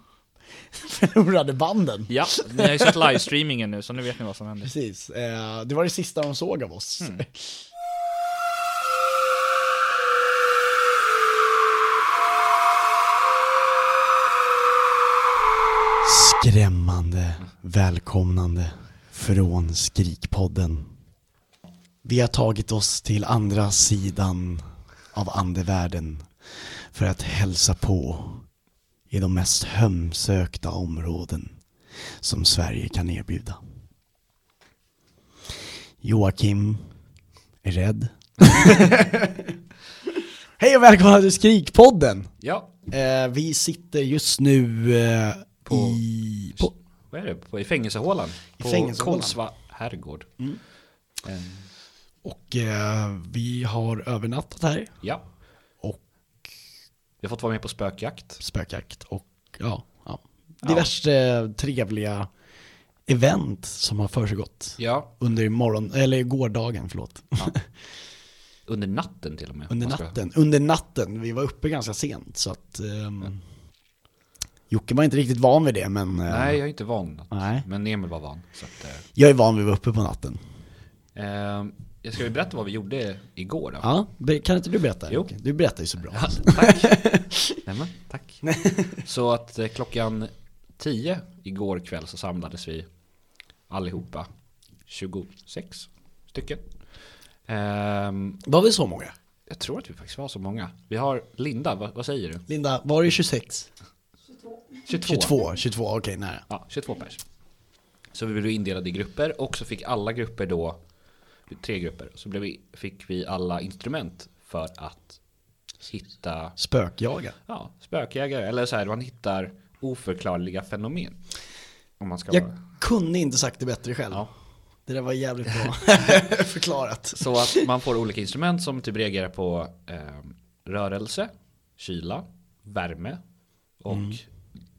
Speaker 3: förlorade banden.
Speaker 5: Ja, ni har ju sett livestreamingen nu så nu vet ni vad som händer.
Speaker 3: Precis. Eh, det var det sista de såg av oss. Skrämmande välkomnande från Skrikpodden. Vi har tagit oss till andra sidan av andevärlden för att hälsa på i de mest hemsökta områden som Sverige kan erbjuda. Joakim är rädd. Hej och välkomna till Skrikpodden!
Speaker 5: Ja,
Speaker 3: Eh, vi sitter just nu eh, i... På,
Speaker 5: vad är det? På, I fängelsehålan? På
Speaker 3: fängelsehålan.
Speaker 5: Kolsva herrgård. Eh,
Speaker 3: och eh, vi har övernattat här.
Speaker 5: ja,
Speaker 3: Och
Speaker 5: vi har fått vara med på spökjakt.
Speaker 3: spökjakt och ja, ja. diverse eh, trevliga event som har försiggått
Speaker 5: Ja,
Speaker 3: under morgon, eller gårdagen, förlåt.
Speaker 5: under natten till och med.
Speaker 3: Under
Speaker 5: Man ska-
Speaker 3: natten, under natten. Vi var uppe ganska sent så att ehm, Jocke var inte riktigt van vid det men eh,
Speaker 5: Nej, jag är inte van. Natt.
Speaker 3: Nej.
Speaker 5: Men Emil var van. Så att, eh,
Speaker 3: jag är van vid att vara uppe på natten.
Speaker 5: eh, jag ska väl berätta vad vi gjorde igår då?
Speaker 3: Ja, be- kan inte du berätta?
Speaker 5: Jo.
Speaker 3: Jocke? Du berättar ju så bra.
Speaker 5: Ja, tack. Nej, men, tack. Så att eh, klockan 10 igår kväll så samlades vi allihopa, 26 stycken. Ehm,
Speaker 3: Var vi så många?
Speaker 5: jag tror att vi faktiskt var så många. Vi har Linda, vad, vad säger du?
Speaker 3: Linda, var det 26?
Speaker 5: 22.
Speaker 3: 22, 22, okej nära.
Speaker 5: Ja, 22 pers. Så vi blev indelade i grupper och så fick alla grupper då, tre grupper, så blev vi, fick vi alla instrument för att hitta
Speaker 3: Spökjaga.
Speaker 5: ja, spökjägare eller så här, man hittar oförklarliga fenomen. Om man ska
Speaker 3: Jag
Speaker 5: vara.
Speaker 3: kunde inte sagt det bättre själv.
Speaker 5: Ja.
Speaker 3: Det där var jävligt bra förklarat.
Speaker 5: Så att man får olika instrument som typ reagerar på eh, rörelse, kyla, värme och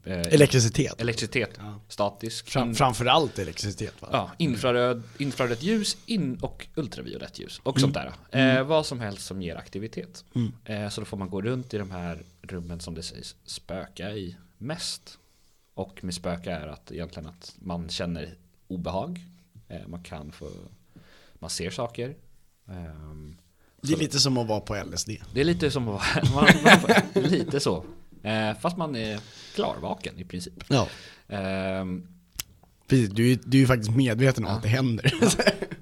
Speaker 5: eh,
Speaker 3: Elektricitet.
Speaker 5: elektricitet, statisk,
Speaker 3: Fram, framförallt elektricitet va?
Speaker 5: ja, infraröd, infrarött ljus in och ultraviolett ljus och sånt där. Eh, vad som helst som ger aktivitet. Eh, så då får man gå runt i de här rummen som det sägs spöka i mest. Och med spöka är att egentligen att man känner obehag. Eh, man kan få, man ser saker. Ehm,
Speaker 3: Det är lite som att vara på LSD.
Speaker 5: det är lite som att vara, man, man, får- lite så. Eh, fast man är klarvaken i princip.
Speaker 3: Ja.
Speaker 5: Ehm,
Speaker 3: Precis, du, är- du är ju faktiskt medveten om att det händer.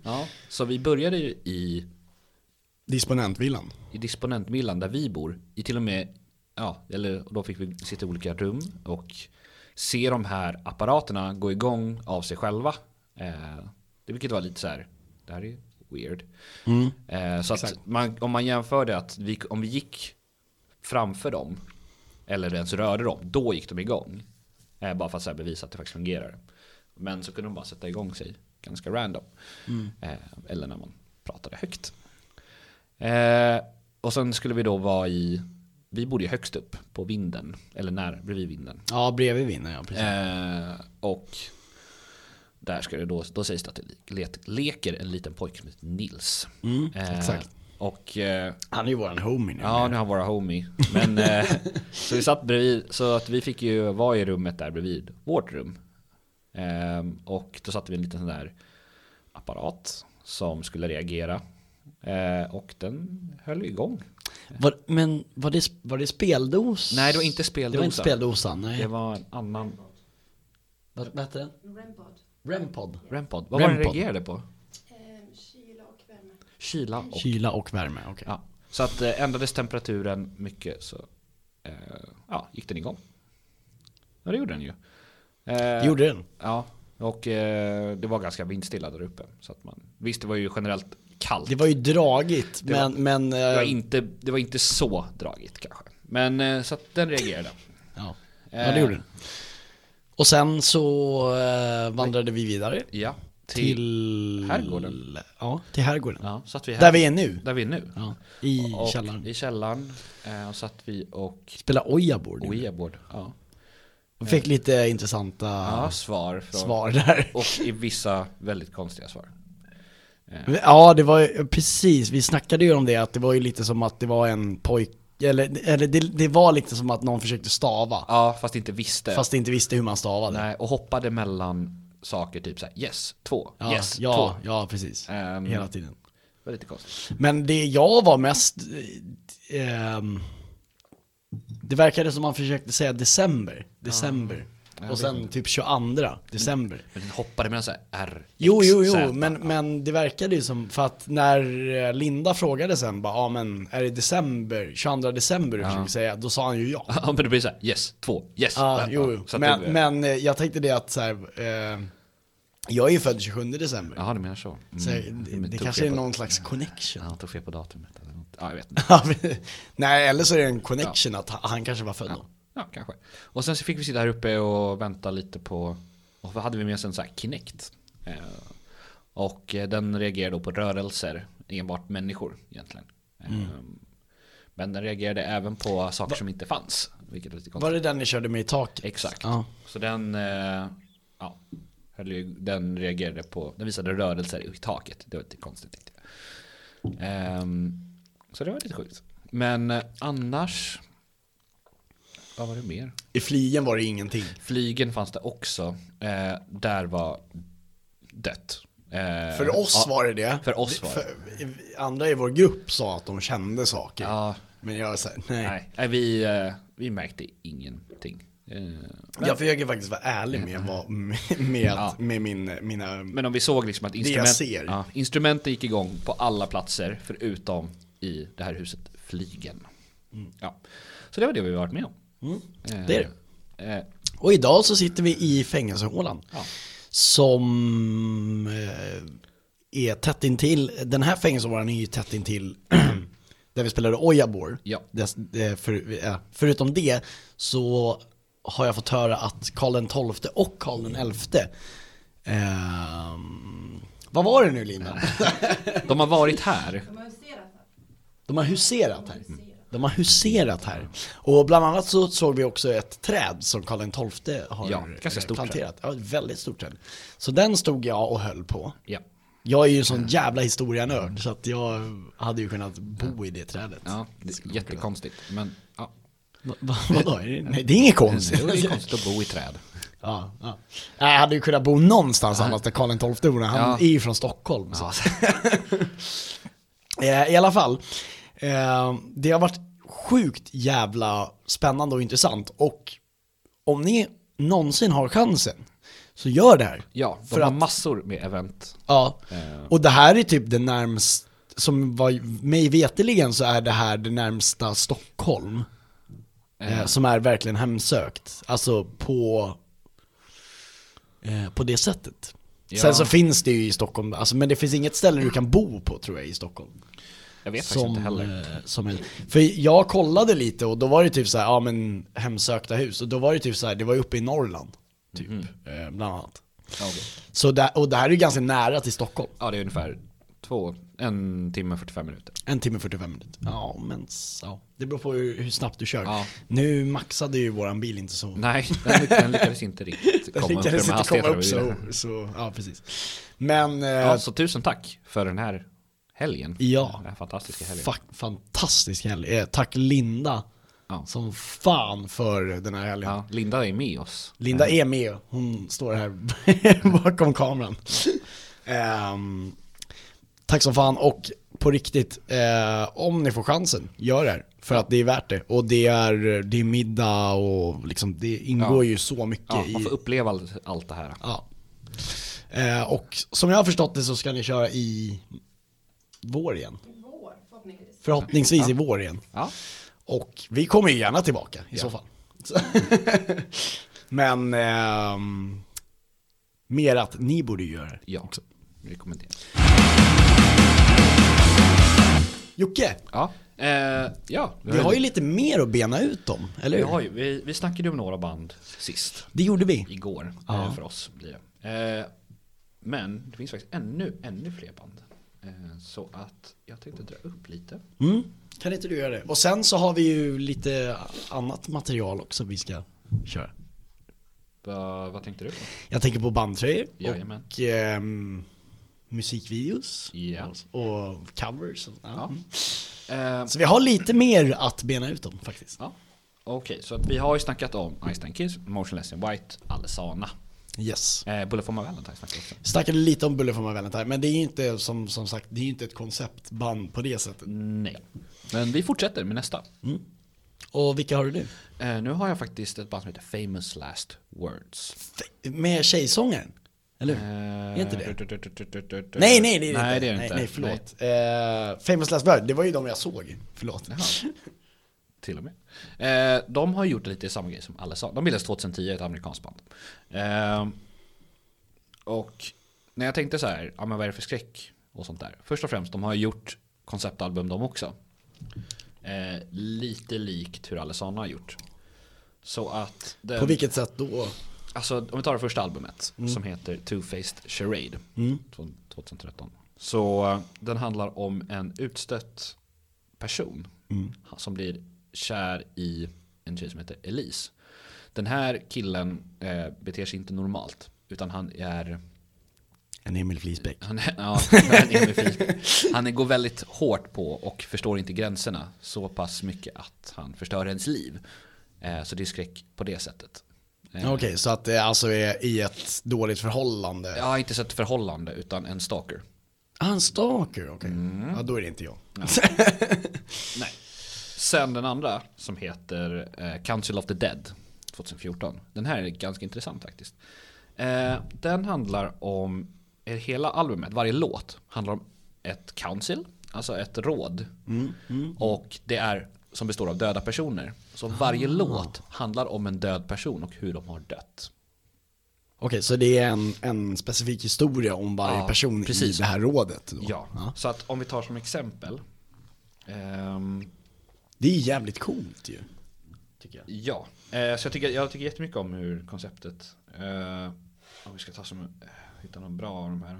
Speaker 5: ja, så vi började ju i
Speaker 3: Disponentvillan.
Speaker 5: i disponentvillan där vi bor, i till och med, ja, eller då fick vi sitta i olika rum och se de här apparaterna gå igång av sig själva. Eh, det vilket var lite så här, det här är weird. Eh, så att man, om man jämförde att vi, om vi gick framför dem, eller ens rörde dem, då gick de igång. Eh, bara för att så här bevisa att det faktiskt fungerar. Men så kunde de bara sätta igång sig ganska random. Eh, eller när man pratade högt. Eh, och sen skulle vi då vara i, vi bodde ju högst upp på vinden, eller när, bredvid vinden.
Speaker 3: Ja, bredvid vinner ja, precis.
Speaker 5: Eh, och där ska det då, då sägs det att det le- leker en liten pojke som heter Nils. Eh,
Speaker 3: exakt.
Speaker 5: Och eh,
Speaker 3: Han är ju våran homie nu.
Speaker 5: ja, nu har han våra homie. Men, eh, så vi satt bredvid, så att vi fick ju vara i rummet där bredvid vårt rum. Ehm, och då satte vi en liten sån där apparat som skulle reagera. Eh, och den höll ju igång
Speaker 3: Var, men var det, var det speldos?
Speaker 5: Nej, det var inte
Speaker 3: Det var inte
Speaker 5: speldosa.
Speaker 3: speldosan, nej.
Speaker 5: Det var en annan
Speaker 3: Vad vad hette den?
Speaker 6: Rempod.
Speaker 3: Rempod.
Speaker 5: Rempod. Vad var den
Speaker 3: Rempod.
Speaker 5: reagerade på?
Speaker 6: Eh, kyla och värme.
Speaker 5: Kyla och...
Speaker 3: Kyla och värme, okej.
Speaker 5: Ja. Så att eh, ändrades temperaturen mycket så eh, ja, gick den igång. Ja, det gjorde den ju. Eh,
Speaker 3: Det gjorde den.
Speaker 5: Ja, och eh, det var ganska vindstilla där uppe. Så att man, visst, det var ju generellt kallt.
Speaker 3: Det var ju dragigt,
Speaker 5: Det var-
Speaker 3: men... men eh,
Speaker 5: det var inte, det var inte så dragigt kanske. Men eh, så att den reagerade.
Speaker 3: ja. ja, det gjorde den. Och sen så eh, vandrade vi vidare.
Speaker 5: Ja, till...
Speaker 3: Till...
Speaker 5: herrgården.
Speaker 3: Ja, till herrgården.
Speaker 5: Ja, så att vi är här,
Speaker 3: Där vi är nu.
Speaker 5: Där vi är nu.
Speaker 3: Ja, I
Speaker 5: och,
Speaker 3: källaren.
Speaker 5: I källaren. Eh, och satt vi och
Speaker 3: Spela Ojaboard. nu.
Speaker 5: Ouija-board. Ja.
Speaker 3: Och fick lite intressanta
Speaker 5: ja, svar. Från,
Speaker 3: svar där.
Speaker 5: Och i vissa väldigt konstiga svar.
Speaker 3: Ja, det var ju- precis. Vi snackade ju om det, att det var ju lite som att det var en pojk eller, eller det, det var lite som att någon försökte stava,
Speaker 5: Ja, fast inte visste.
Speaker 3: fast inte visste hur man stavade.
Speaker 5: Nej, och hoppade mellan saker, typ såhär yes, två,
Speaker 3: ja,
Speaker 5: yes,
Speaker 3: ja,
Speaker 5: två.
Speaker 3: ja, precis.
Speaker 5: Ehm.
Speaker 3: Hela tiden.
Speaker 5: Det var lite konstigt.
Speaker 3: Men det jag var mest... Eh, ehm, det verkade som man försökte säga december, december. Och sen typ 22 december.
Speaker 5: Men den hoppade mellan såhär r,
Speaker 3: Jo,
Speaker 5: X,
Speaker 3: jo,
Speaker 5: Z.
Speaker 3: jo, men, men det verkade ju som, för att när eh, Linda frågade sen bara, ja men är det december, 22 december du försöker säga, då sa han ju ja.
Speaker 5: Ja, men det blir såhär yes, två, yes.
Speaker 3: Ja,
Speaker 5: vänta.
Speaker 3: jo, jo.
Speaker 5: att
Speaker 3: Men,
Speaker 5: det-
Speaker 3: men eh, jag tänkte det att så här, eh, jag är ju född 27 december.
Speaker 5: Jaha, du menar så. Mm.
Speaker 3: Så
Speaker 5: Men
Speaker 3: det det
Speaker 5: tog
Speaker 3: kanske
Speaker 5: fel
Speaker 3: är
Speaker 5: på-
Speaker 3: någon slags connection.
Speaker 5: Ja, han tog fel på datumet eller något. Ja, jag vet inte.
Speaker 3: Nej, eller så är det en connection att han, han kanske var född då.
Speaker 5: Ja, kanske. Och sen så fick vi sitta här uppe och vänta lite på, och vad hade vi med oss en sån här Kinect. Eh, Och eh, den reagerar då på rörelser, enbart människor egentligen. Eh,
Speaker 3: Mm.
Speaker 5: Men den reagerade även på saker som inte fanns, vilket var lite
Speaker 3: Var
Speaker 5: konstigt.
Speaker 3: det den ni körde med i taket?
Speaker 5: Exakt.
Speaker 3: Ja.
Speaker 5: Så den, eh, ja, höll ju- den reagerade på, den visade rörelser i taket. Det var lite konstigt tyckte jag. Ehm, så det var lite sjukt. Men eh, annars, vad var det mer?
Speaker 3: I flygen var det ingenting.
Speaker 5: Flygen fanns det också. Eh, där var dött. Eh,
Speaker 3: För oss
Speaker 5: ja,
Speaker 3: var det det.
Speaker 5: För oss var det.
Speaker 3: För, andra i vår grupp sa att de kände saker.
Speaker 5: Ja,
Speaker 3: Men jag säger nej.
Speaker 5: nej. nej vi, eh, vi märkte ingenting. Eh,
Speaker 3: Jag försöker faktiskt vara ärlig med, vad, med, med, att- med min, mina...
Speaker 5: men om vi såg liksom att
Speaker 3: jag
Speaker 5: instrument,
Speaker 3: ser.
Speaker 5: ja, instrumenten gick igång på alla platser förutom i det här huset, flygen. Ja. Så det var det vi varit med om. Eh,
Speaker 3: Mm. det är
Speaker 5: Eh,
Speaker 3: Och idag så sitter vi i fängelsehålan.
Speaker 5: Ja.
Speaker 3: Som eh, är tätt intill, den här fängelsehålan är ju tätt intill där vi spelade Ojabor.
Speaker 5: Ja.
Speaker 3: Dess- eh, för, eh, förutom det så har jag fått höra att Karl XII och Karl XI ehm, vad var det nu Linda?
Speaker 5: de har varit här.
Speaker 6: De har huserat här.
Speaker 3: De har huserat här. De har huserat här. Och bland annat så såg vi också ett träd som Karl XII har
Speaker 5: Ja, ganska stort
Speaker 3: planterat. Ja, ett väldigt stort träd. Så den stod jag och höll på.
Speaker 5: Ja.
Speaker 3: Jag är ju en sån jävla historianörd så att jag hade ju kunnat bo i det trädet.
Speaker 5: Ja, det är jättekonstigt. Men ja.
Speaker 3: Va- va- Vadå? Är det- Nej, det är inget konstigt.
Speaker 5: Jo, det är konstigt att bo i träd.
Speaker 3: Ja, ja. Nej, Jag hade ju kunnat bo någonstans annars där Karl XII bor. Han
Speaker 5: Ja.
Speaker 3: är ju från Stockholm. Så.
Speaker 5: Ja.
Speaker 3: Eh, I alla fall, eh, det har varit sjukt jävla spännande och intressant. Och om ni någonsin har chansen, så gör det här.
Speaker 5: Ja, de
Speaker 3: För
Speaker 5: har
Speaker 3: att-
Speaker 5: massor med event.
Speaker 3: Ja.
Speaker 5: Eh.
Speaker 3: Och det här är typ det närmst, som vad mig veteligen så är det här det närmsta Stockholm. Eh, som är verkligen hemsökt. Alltså på, eh, på det sättet.
Speaker 5: Ja.
Speaker 3: Sen så finns det ju i Stockholm, alltså, men det finns inget ställe du kan bo på tror jag i Stockholm.
Speaker 5: Jag vet faktiskt
Speaker 3: Som,
Speaker 5: inte heller.
Speaker 3: eh, som en, för jag kollade lite och då var det typ så här, ja men hemsökta hus. Och då var det typ så här, det var ju uppe i Norrland. Typ, eh, bland annat.
Speaker 5: Mhm. Ja, okej.
Speaker 3: Så där, och det här är ju ganska nära till Stockholm.
Speaker 5: Ja, det är ungefär två, en timme och 45 minuter.
Speaker 3: En timme 45 minuter. Ja, men ja. Det beror på hur, hur snabbt du kör.
Speaker 5: Ja.
Speaker 3: Nu maxade ju våran bil inte så.
Speaker 5: Nej, den, lyck- den lyckades inte riktigt
Speaker 3: Den
Speaker 5: komma upp i
Speaker 3: lyckades
Speaker 5: de här
Speaker 3: inte komma
Speaker 5: hastigheterna
Speaker 3: upp
Speaker 5: vi
Speaker 3: så,
Speaker 5: ville.
Speaker 3: så, ja precis. Men, eh,
Speaker 5: Ja, så tusen tack för den här helgen.
Speaker 3: Ja.
Speaker 5: Den här fantastiska helgen.
Speaker 3: fa- fantastisk helg. Eh, tack Linda,
Speaker 5: Ja.
Speaker 3: som fan för den här helgen.
Speaker 5: Ja, Linda är med oss.
Speaker 3: Linda är med, hon står här bakom kameran. Ehm, tack som fan och på riktigt, eh, om ni får chansen, gör det här. För att det är värt det. Och det är, det är middag och liksom, det ingår
Speaker 5: Ja.
Speaker 3: ju så mycket
Speaker 5: Ja, man
Speaker 3: i...
Speaker 5: får uppleva allt, allt det här.
Speaker 3: Ja. Eh, och som jag har förstått det så ska ni köra i vår igen.
Speaker 6: I vår, förhoppningsvis.
Speaker 3: Förhoppningsvis i vår igen.
Speaker 5: Ja,
Speaker 3: Och vi kommer ju gärna tillbaka i så fall. Så- Men ehm, mer att ni borde ju göra det.
Speaker 5: ja. Rekommenderar.
Speaker 3: Jocke,
Speaker 5: Ja, eh, ja.
Speaker 3: vi har ju lite mer att bena ut om, eller
Speaker 5: vi,
Speaker 3: hur?
Speaker 5: har ju, vi, vi snackade ju om några band sist.
Speaker 3: Det gjorde vi.
Speaker 5: igår
Speaker 3: Ja.
Speaker 5: eh, för oss blir det. Eh, men det finns faktiskt ännu, ännu fler band. Eh, så att jag tänkte dra upp lite.
Speaker 3: Mm. Kan inte du göra det? Och sen så har vi ju lite annat material också vi ska köra.
Speaker 5: Va, vad tänkte du på?
Speaker 3: Jag tänker på bandtröjor
Speaker 5: Jajamän.
Speaker 3: och ehm, musikvideos
Speaker 5: Ja.
Speaker 3: och covers. Och, ja.
Speaker 5: Eh,
Speaker 3: Så vi har lite mer att bena ut om faktiskt.
Speaker 5: ja. Okej, så att vi har ju snackat om Einstein Kiss, Motionless in White, Alesana.
Speaker 3: Yes.
Speaker 5: Eh, Bullet for my Valentine snackade vi också.
Speaker 3: Snackade lite om Bullet for my Valentine, men det är ju inte som, som sagt, det är ju inte ett konceptband på det sättet.
Speaker 5: Nej. Men vi fortsätter med nästa.
Speaker 3: Och vilka har du nu?
Speaker 5: Eh, nu har jag faktiskt ett band som heter Famous Last Words. Eh,
Speaker 3: F- Med tjejsångaren? Eller hur?
Speaker 5: Är
Speaker 3: inte det? Nej, nej, det är det
Speaker 5: nej,
Speaker 3: inte.
Speaker 5: Det är det
Speaker 3: nej,
Speaker 5: inte.
Speaker 3: nej, förlåt. Eh, Famous Last Word, det var ju de jag såg. Förlåt.
Speaker 5: Till och med. Eh, de har gjort lite samma grej som alla sa. De bildades 2010, ett amerikanskt band. Eh, och när jag tänkte så här, ja men vad är det för skräck och sånt där. Först och främst, de har gjort konceptalbum de också. Eh, lite likt hur Alessandra har gjort. Så att... den-
Speaker 3: På vilket sätt då?
Speaker 5: Alltså om vi tar det första albumet som heter Two-Faced Charade från 2013. Så eh, den handlar om en utstött person han- som blir kär i en tjej som heter Elise. Den här killen eh, beter sig inte normalt utan han är
Speaker 3: En Emil Flisbäck.
Speaker 5: han, är, ja, han, är med flit. han är- går väldigt hårt på och förstår inte gränserna så pass mycket att han förstör ens liv. Eh, så det är skräck på det sättet. Eh,
Speaker 3: Okej, så att det alltså är i ett dåligt förhållande.
Speaker 5: Ja, inte så ett förhållande utan en stalker.
Speaker 3: Ah, en stalker, okej.
Speaker 5: Mm.
Speaker 3: Ja, då är det inte jag.
Speaker 5: Nej. Sen den andra som heter eh, Council of the Dead 2014. Den här är ganska intressant faktiskt. Eh, den handlar om, eh, hela albumet, varje låt handlar om ett council, alltså ett råd. Och det är som består av döda personer. Så varje låt handlar om en död person och hur de har dött.
Speaker 3: Okej, så det är en, en specifik historia om varje
Speaker 5: Ja,
Speaker 3: person
Speaker 5: precis.
Speaker 3: i det här rådet? Då.
Speaker 5: Ja, så att om vi tar som exempel. ehm,
Speaker 3: Det är jävligt coolt ju. Tycker jag.
Speaker 5: Ja, eh, så jag tycker, jag tycker jättemycket om hur konceptet. Eh, om vi ska ta som, eh, hitta någon bra av de här.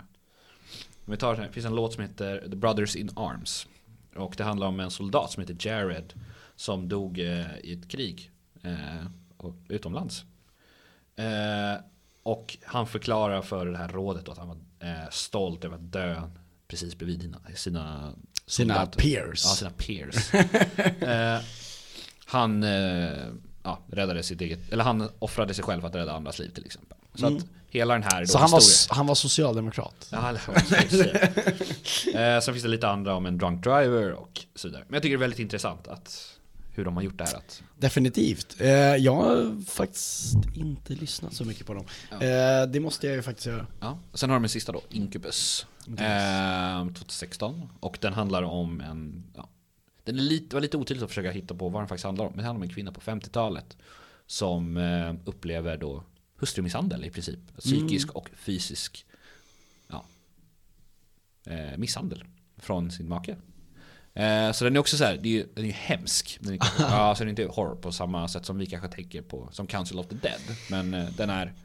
Speaker 5: Om vi tar den här, det finns en låt som heter The Brothers in Arms. Och det handlar om en soldat som heter Jared. Som dog eh, i ett krig eh, och, utomlands. Eh, och han förklarar för det här rådet då att han var eh, stolt över att dö precis bredvid sina, sina,
Speaker 3: Sina
Speaker 5: soldater.
Speaker 3: peers.
Speaker 5: Ja, sina peers. eh, han eh, ja, räddade sitt eget, eller han offrade sig själv för att rädda andras liv till exempel. Så att hela den här då
Speaker 3: Mm. Så han var,
Speaker 5: historien-
Speaker 3: han var socialdemokrat?
Speaker 5: Ja, eller vad ska jag säga. eh, sen finns det lite andra om en drunk driver och så vidare. Men jag tycker det är väldigt intressant att hur de har gjort det här. Att,
Speaker 3: Definitivt. Eh, jag har faktiskt inte lyssnat så mycket på dem. Eh, det måste jag ju faktiskt göra.
Speaker 5: ja. Sen har de en sista då, Incubus. Eh, 2016. Och den handlar om en, ja, den är lite, var lite otydligt att försöka hitta på vad den faktiskt handlar om. Men det handlar om en kvinna på 50-talet som eh, upplever då hustrumisshandel i princip. Psykisk och fysisk ja, eh, misshandel från sin make. Eh, så den är också så här, det är ju, den är ju hemsk. Den är, ja, så den är inte horror på samma sätt som vi kanske tänker på som Council of the Dead. Men eh, den är
Speaker 3: Grejen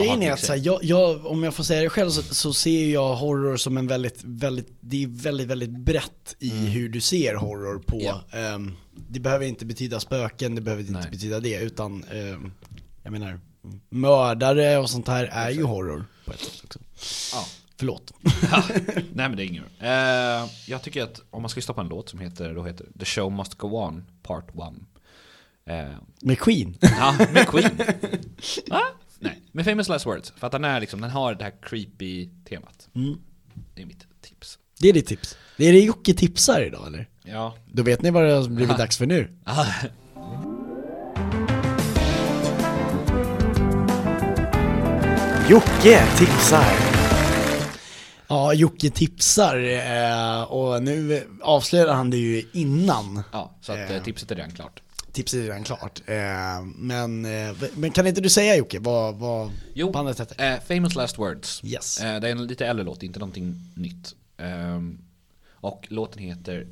Speaker 5: obehaglig.
Speaker 3: är att så här, jag, jag, om jag får säga det själv så, så ser ju jag horror som en väldigt, väldigt, det är väldigt, väldigt brett i hur du ser horror på.
Speaker 5: Mm. Ja.
Speaker 3: Ehm, det behöver inte betyda spöken, det behöver inte
Speaker 5: Nej.
Speaker 3: betyda det, utan ehm, jag menar, mördare och sånt här är ju horror på ett sätt också.
Speaker 5: ja.
Speaker 3: Förlåt.
Speaker 5: Nej men det är inget eh, Jag tycker att om man ska stoppa en låt som heter, då heter The Show Must Go On Part 1. Eh,
Speaker 3: Med Queen.
Speaker 5: ja, med Queen. Va? Nej, med Famous Last Words. För att den, är liksom, den har det här creepy temat. Det är mitt tips.
Speaker 3: Det är ditt tips. Det är det Jocke tipsar idag eller?
Speaker 5: Ja.
Speaker 3: Då vet ni vad det har blivit dags för nu. Jocke tipsar. Ja, Jocke tipsar eh, och nu avslöjar han det ju innan.
Speaker 5: ja så att eh, tipset är redan klart.
Speaker 3: Tipset är redan klart. Eh, Men, eh, men kan inte du säga Jocke vad, vad
Speaker 5: Jo,
Speaker 3: bandet heter?
Speaker 5: eh, Famous Last Words.
Speaker 3: Yes.
Speaker 5: Eh, det är en lite äldre låt, inte någonting nytt. Ehm, och låten heter...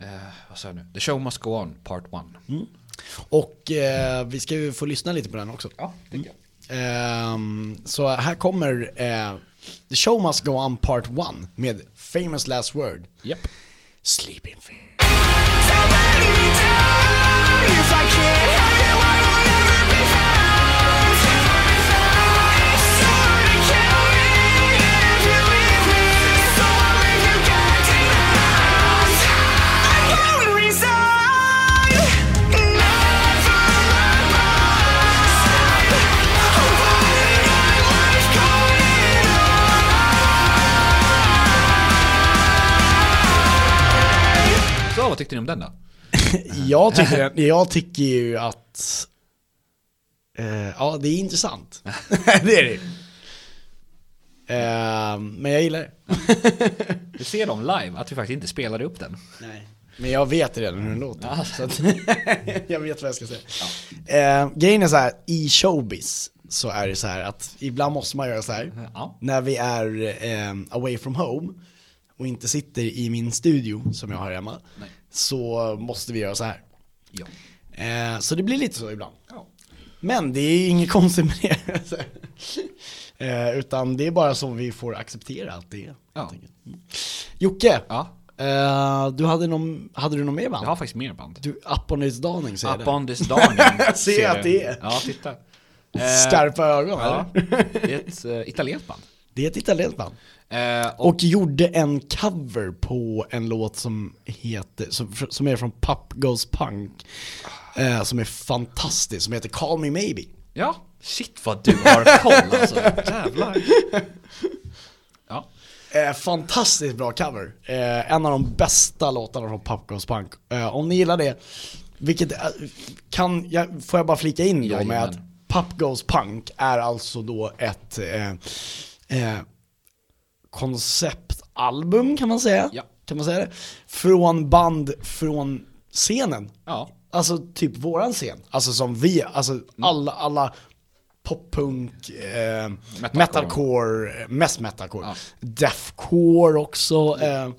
Speaker 5: Eh, vad sa jag nu? The Show Must Go On Part 1.
Speaker 3: Och eh, vi ska ju få lyssna lite på den också.
Speaker 5: Ja, tycker jag.
Speaker 3: Mm. Ehm, så här kommer eh, The Show Must Go On Part 1 med Famous Last Word,
Speaker 5: Japp.
Speaker 3: Sleep In Fear.
Speaker 7: Sorry, kill me if you
Speaker 5: tyckte ni om den då?
Speaker 3: Jag tycker, jag tycker ju att... Eh, ja, det är intressant. det är det eh, Men jag gillar det.
Speaker 5: Du ser dem live, att vi faktiskt inte spelade upp den.
Speaker 3: Nej. Men jag vet redan hur den låter.
Speaker 5: Ja.
Speaker 3: Så att, jag vet vad jag ska säga. Eh, grejen är så här, i showbiz så är det så här att ibland måste man göra så här.
Speaker 5: Ja.
Speaker 3: När vi är eh, away from home och inte sitter i min studio som jag har hemma.
Speaker 5: Nej.
Speaker 3: Så måste vi göra så här.
Speaker 5: Ja.
Speaker 3: Eh, så det blir lite så ibland.
Speaker 5: Ja.
Speaker 3: Men det är inget konstigt med det. Så här. eh, utan det är bara så vi får acceptera att det är.
Speaker 5: Ja.
Speaker 3: helt enkelt. Mm. Jocke,
Speaker 5: ja.
Speaker 3: eh, du hade, någon, hade du någon mer
Speaker 5: Jag
Speaker 3: band?
Speaker 5: har faktiskt mer band.
Speaker 3: Du, Up on its daning säger
Speaker 5: Up on this darling.
Speaker 3: Ser jag att det är.
Speaker 5: Ja, titta.
Speaker 3: det.
Speaker 5: Eh,
Speaker 3: Skarpa ögon
Speaker 5: Ja,
Speaker 3: eller?
Speaker 5: det är ett eh, italienskt band.
Speaker 3: Det är ett italienskt band.
Speaker 5: Eh, och
Speaker 3: Och gjorde en cover på en låt som heter, som, som är från Pop Goes Punk. Eh, som är fantastisk, som heter Call Me Maybe.
Speaker 5: ja, shit vad du har koll alltså. Jävlar. Ja,
Speaker 3: Eh, fantastiskt bra cover. Eh, en av de bästa låtarna från Pop Goes Punk. Eh, om ni gillar det, vilket eh, kan, jag, får jag bara flika in då med
Speaker 5: Jajamän.
Speaker 3: att Pop Goes Punk är alltså då ett eh, eh, konceptalbum kan man säga.
Speaker 5: Ja.
Speaker 3: Kan man säga det? Från band från scenen.
Speaker 5: ja, Mm.
Speaker 3: Alltså typ våran scen. Alltså som vi, alltså alla, alla poppunk, eh, metalcore, eh, mest metalcore,
Speaker 5: Ja.
Speaker 3: deathcore också, eh,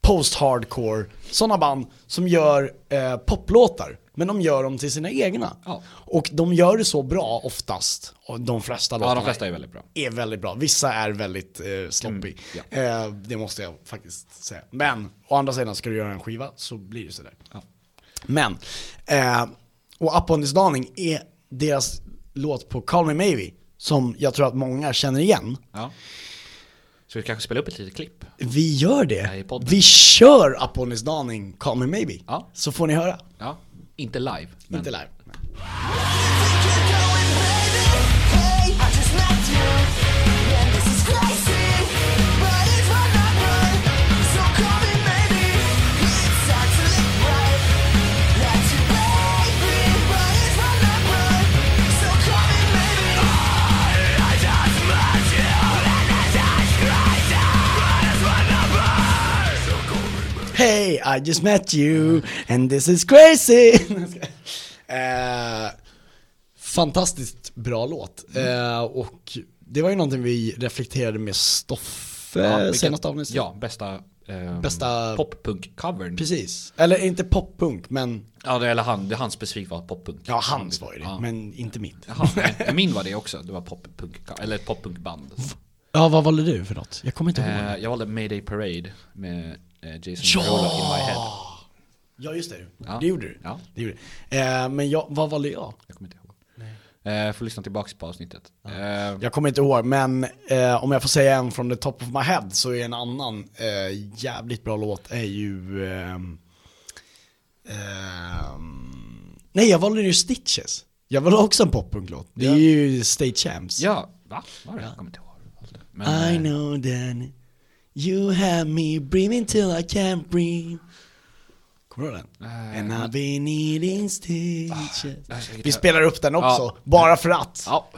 Speaker 3: post-hardcore, sådana band som gör eh, poplåtar. Men de gör dem till sina egna.
Speaker 5: Ja.
Speaker 3: Och de gör det så bra oftast, och de flesta
Speaker 5: ja,
Speaker 3: låtarna
Speaker 5: de flesta är väldigt bra.
Speaker 3: är väldigt bra. Vissa är väldigt eh, sloppy.
Speaker 5: Mm,
Speaker 3: eh, det måste jag faktiskt säga. Men å andra sidan, ska du göra en skiva så blir det sådär.
Speaker 5: Ja.
Speaker 3: Men, eh, och Up on this dawning är deras låt på Call Me Maybe, som jag tror att många känner igen.
Speaker 5: Ja. Så vi kanske spelar upp ett litet klipp?
Speaker 3: Vi gör
Speaker 5: Ja, i
Speaker 3: det.
Speaker 5: podden.
Speaker 3: Vi kör Up on this dawning, Call Me Maybe.
Speaker 5: Ja.
Speaker 3: Så får ni höra.
Speaker 5: Ja, inte live. Men
Speaker 3: Inte live. Hey, I just met you and this is crazy. eh, fantastiskt bra låt. Eh, och det var ju någonting vi reflekterade med Stoffe
Speaker 5: vilket-
Speaker 3: senaste avsnittet.
Speaker 5: Ja, bästa, eh,
Speaker 3: Bästa-
Speaker 5: poppunk-covern.
Speaker 3: Precis. Eller inte poppunk, men
Speaker 5: Ja, det, eller han, det han specifikt var poppunk.
Speaker 3: ja, hans var ju det.
Speaker 5: Ja.
Speaker 3: Men inte mitt.
Speaker 5: Jaha, nej, min var det också. Det var poppunk, eller ett poppunkband.
Speaker 3: Oh, Ja, vad valde du för något? Jag kommer inte ihåg.
Speaker 5: Eh, jag valde Mayday Parade med eh, Jason
Speaker 3: Ja!
Speaker 5: Derulo in my head.
Speaker 3: Ja, just det.
Speaker 5: Ja.
Speaker 3: Det gjorde du.
Speaker 5: Ja.
Speaker 3: Det gjorde du. Eh, men jag, vad valde jag?
Speaker 5: Jag kommer inte ihåg. Eh, får lyssna tillbaka på avsnittet. Eh,
Speaker 3: Jag kommer inte ihåg, men eh, om jag får säga en från the top of my head så är en annan eh, jävligt bra låt är ju... ehm, ehm, nej, jag valde ju Stitches. Jag valde också en poppunklåt. Det är ju State Champs.
Speaker 5: ja, va? Var det? Jag kommer inte ihåg. Men,
Speaker 3: I
Speaker 5: eh,
Speaker 3: know that you have me breathing till I can't breathe Kommer du ihåg den?
Speaker 5: Eh, Ah,
Speaker 3: And I've been eating stitches
Speaker 5: jag ska-
Speaker 3: Vi spelar upp den också,
Speaker 5: Ja.
Speaker 3: bara för att.
Speaker 5: Ja,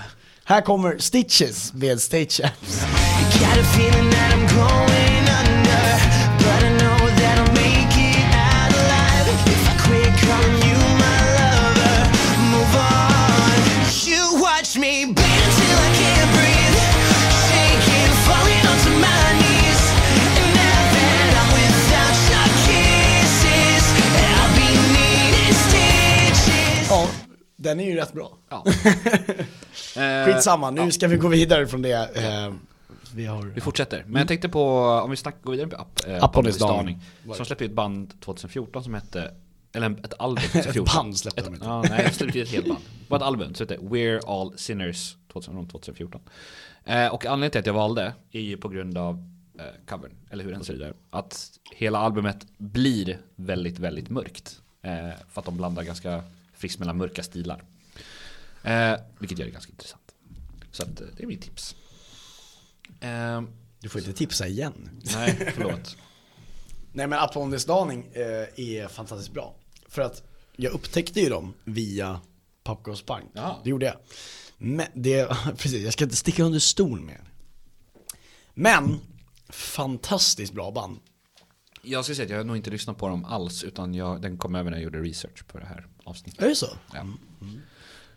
Speaker 3: Här kommer Stitches med State Champs.
Speaker 7: Got a feeling that I'm going under, but I know that I'll make it out alive if I quit calling you my lover. Move on. You watch me bleed until I can't breathe, shaking, falling onto my knees. And now that I'm without your kisses, I'll be needing stitches.
Speaker 3: Ja, den är ju rätt bra.
Speaker 5: ja. Eh,
Speaker 3: Skitsamma, nu ska vi gå vidare från det. Eh, vi har...
Speaker 5: Vi fortsätter. Men jag tänkte på, om vi snackar, går vidare på Up, eh,
Speaker 3: Up on this
Speaker 5: this dawning,
Speaker 3: Dawn.
Speaker 5: Som släppte ju ett band 2014 som hette, eller en- ett album 2014.
Speaker 3: band släppte
Speaker 5: ett,
Speaker 3: de inte.
Speaker 5: Ja, nej, de släppte ett helt band. Det var ett album som hette We're All Sinners 2000 2014. Eh, och anledningen till att jag valde är ju på grund av eh, covern, eller hur den ser ut där. Att hela albumet blir väldigt, väldigt mörkt. Eh, för att de blandar ganska friskt mellan mörka stilar. Eh, vilket gör det ganska intressant. Så att, eh, det är mitt tips. Ehm,
Speaker 3: Du får inte tipsa igen.
Speaker 5: Nej, förlåt.
Speaker 3: Nej men Apondus Daning eh, är fantastiskt bra. För att jag upptäckte ju dem via Popcorns Bank.
Speaker 5: Ja.
Speaker 3: Det gjorde jag. Men det, precis, jag ska inte sticka under stol med det. Men, fantastiskt bra band.
Speaker 5: Jag ska säga att jag har nog inte lyssnat på dem alls utan jag, den kom över när jag gjorde research på det här avsnittet.
Speaker 3: Är det så?
Speaker 5: Ja.